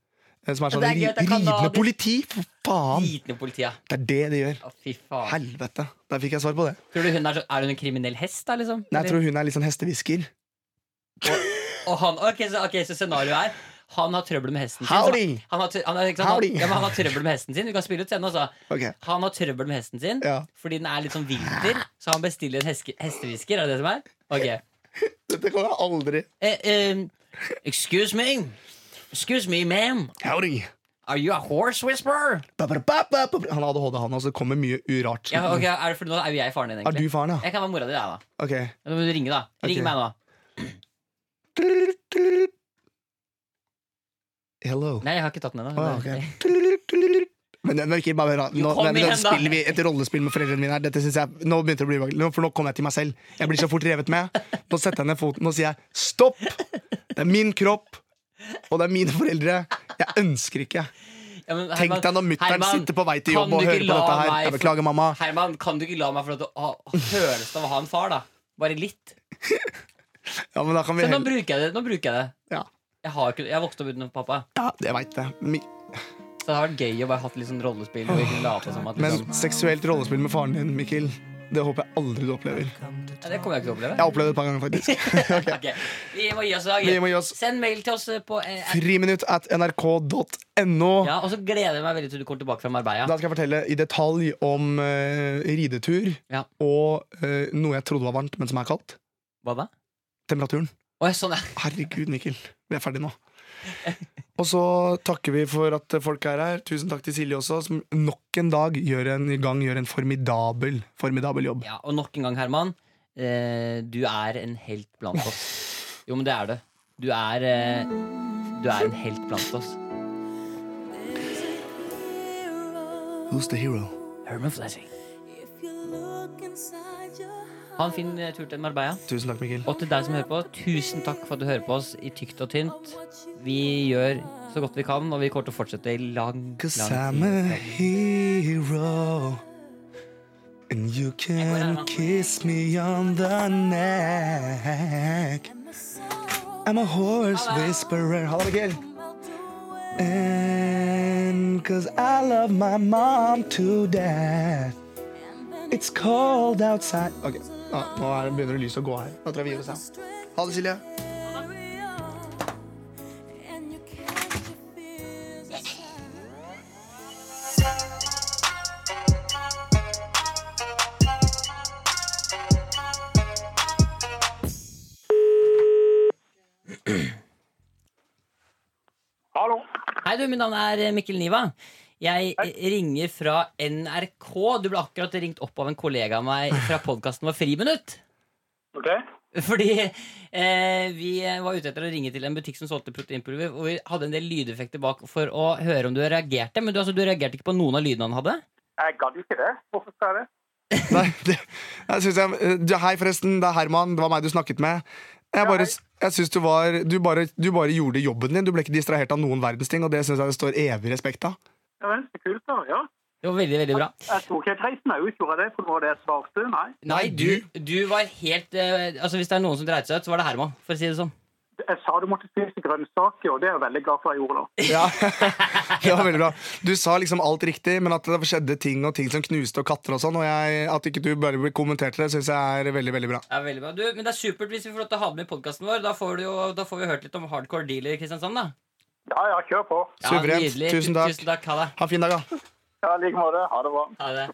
Speaker 2: eh, Som er sånn
Speaker 3: Det er gøy
Speaker 2: ri-
Speaker 3: at det er
Speaker 2: rivende
Speaker 3: kanadisk.
Speaker 2: politi! For faen!
Speaker 3: Bitende politi, ja.
Speaker 2: Det er det det gjør.
Speaker 3: Å, fy faen.
Speaker 2: Helvete. Der fikk jeg svar på det.
Speaker 3: Tror du hun er, så, er hun en kriminell hest, da? liksom?
Speaker 2: Nei, jeg
Speaker 3: Eller-
Speaker 2: tror hun er litt sånn hestehvisker.
Speaker 3: Og han, ok, så, ok, så scenarioet er han har trøbbel med hesten sin.
Speaker 2: Howdy!
Speaker 3: så- Han har, tr- han, har, ikke sant, han,
Speaker 2: Howdy!
Speaker 3: ja, men han har trøbbel med hesten sin. Du kan spille ut scenen, altså.
Speaker 2: Ok,
Speaker 3: Han har trøbbel med hesten sin
Speaker 2: ja
Speaker 3: fordi den er litt sånn vinter, så han bestiller en heske, hestehvisker. Er det det som er? Ok.
Speaker 2: Dette kan jeg aldri
Speaker 3: Eh, eh, excuse me. Excuse me, ma'am.
Speaker 2: Howdy!
Speaker 3: Are you a horse whisperer?
Speaker 2: Ba, ba, ba, ba, ba. Han har ADHD, han, og det kommer mye urart.
Speaker 3: Ja, ok, er det for nå er jo jeg faren din,
Speaker 2: Er du
Speaker 3: egentlig.
Speaker 2: faren, ja?
Speaker 3: Jeg kan være mora di, jeg, da.
Speaker 2: Ok.
Speaker 3: Nå må du ringe, da. Ring
Speaker 2: Ok.
Speaker 3: meg nå.
Speaker 2: Hello.
Speaker 3: Nei, jeg har ikke tatt den ennå.
Speaker 2: Å, ja, Ah, ok. Men den virker bare rar. Nå,
Speaker 3: kom
Speaker 2: men, nå
Speaker 3: igjen, da.
Speaker 2: spiller vi et rollespill med foreldrene mine her. Dette synes jeg, Nå begynte det å bli ubehagelig, Nå- for nå kom jeg til meg selv. Jeg blir så fort revet med. Nå setter jeg ned foten og sier jeg, stopp! Det er min kropp, og det er mine foreldre. Jeg ønsker ikke.
Speaker 3: Ja, men
Speaker 2: Tenk
Speaker 3: Herman-
Speaker 2: deg når mutter'n
Speaker 3: Herman,
Speaker 2: sitter på vei til
Speaker 3: kan
Speaker 2: jobb
Speaker 3: du
Speaker 2: og
Speaker 3: ikke
Speaker 2: hører på
Speaker 3: la
Speaker 2: dette her.
Speaker 3: meg
Speaker 2: Jeg
Speaker 3: få-
Speaker 2: beklager, mamma.
Speaker 3: Herman, kan du ikke la meg få lov til å ha følelsen av å ha en far, da? Bare litt.
Speaker 2: Ja, men da kan vi
Speaker 3: Så nå
Speaker 2: heller-
Speaker 3: bruker jeg det. Nå bruker jeg det.
Speaker 2: Ja.
Speaker 3: Jeg har ikke, jeg vokste opp uten pappa,
Speaker 2: Ja, det veit jeg. Mi-
Speaker 3: så det har vært gøy å bare hatt litt sånn rollespill. Og ikke late som at liksom,
Speaker 2: Men seksuelt rollespill med faren din, Mikkel, det håper jeg aldri du opplever. Jeg
Speaker 3: ja, det kommer jeg ikke til å oppleve.
Speaker 2: har opplevd det et par ganger, faktisk. Ok.
Speaker 3: Ok, Vi må gi oss i dag.
Speaker 2: Vi må gi oss.
Speaker 3: Send mail til oss på eh,
Speaker 2: Friminutt at nrk.no.
Speaker 3: ja, Og så gleder jeg meg veldig til du kommer tilbake fra Marbella.
Speaker 2: Da skal jeg fortelle i detalj om eh, ridetur
Speaker 3: Ja.
Speaker 2: og eh, noe jeg trodde var varmt, men som er kaldt.
Speaker 3: Hva da?
Speaker 2: Temperaturen.
Speaker 3: Å, ja, sånn, ja.
Speaker 2: Herregud, Mikkel. Vi er ferdige nå. Og så takker vi for at folk er her. Tusen takk til Silje også, som nok en dag gjør en, i gang gjør en formidabel, formidabel jobb.
Speaker 3: ja. Og nok en gang, Herman, eh, du er en helt blant oss. Jo, men det er du. Du er, eh, du er en helt blant oss.
Speaker 2: Who's the hero?
Speaker 3: Herman Flessing.
Speaker 7: If you look inside your
Speaker 3: Ha en fin eh, tur til Marbella.
Speaker 2: Tusen takk, Mikkel.
Speaker 3: Og til deg som hører på, tusen takk for at du hører på oss i tykt og tynt. Vi gjør så godt vi kan, og vi kommer til å fortsette i lang,
Speaker 2: Cause
Speaker 3: lang
Speaker 2: I'm a
Speaker 3: tid.
Speaker 2: hero And you can kiss me on the neck I'm a horse whisperer Ha det, Mikkel And cause I love my mom to death It's cold outside Ok, nå, nå er det, begynner det lyset å gå her. Nå tror jeg vi gir oss her. Ha det, Silje.
Speaker 7: And you catch your fears aside.
Speaker 4: Hallo.
Speaker 3: Hei, du. Mitt navn er eh, Mikkel Niva. Jeg ringer fra NRK. Du ble akkurat ringt opp av en kollega av meg fra podkasten vår Friminutt.
Speaker 4: Ok.
Speaker 3: Fordi eh, vi var ute etter å ringe til en butikk som solgte proteinpulver, og vi hadde en del lydeffekter bak for å høre om du reagerte. Men du, altså, du reagerte ikke på noen av lydene han hadde?
Speaker 4: Jeg gadd ikke det. Hvorfor skal jeg det?
Speaker 2: Nei, det, jeg synes jeg, du, hei, forresten. Det er Herman. Det var meg du snakket med. Jeg bare, jeg synes du, var, du, bare, du bare gjorde jobben din. Du ble ikke distrahert av noen verdens ting, og det syns jeg det står evig respekt av.
Speaker 4: Ja vel, så kult, da. Ja.
Speaker 3: Det var veldig, veldig bra.
Speaker 4: Jeg tok helt heisen jeg ut, gjorde jeg det? For det var det jeg svarte? Nei.
Speaker 3: Nei, du, du var helt eh, Altså, hvis det er noen som dreit seg ut, så var det Herman, for å si det sånn.
Speaker 4: Jeg sa du måtte spise grønnsaker, og det er jeg veldig glad for jeg gjorde, da.
Speaker 2: Ja, det var veldig bra Du sa liksom alt riktig, men at det skjedde ting og ting som knuste og katter og sånn, og jeg, at ikke du bare kommenterte det, syns jeg er veldig, veldig bra.
Speaker 3: Ja, veldig bra. Du, men det er supert hvis vi får lov til å ha det med i podkasten vår. Da får, du jo, da får vi hørt litt om hardcore dealer i Kristiansand, da.
Speaker 4: Ja ja, kjør på.
Speaker 3: Ja,
Speaker 2: Suverent.
Speaker 3: nydelig.
Speaker 2: Tusen
Speaker 3: Tu-
Speaker 2: takk.
Speaker 3: Tusen takk. Ha det.
Speaker 2: Ha en fin dag, da.
Speaker 4: Ja, I like måte. Ha det bra.
Speaker 3: Ha det.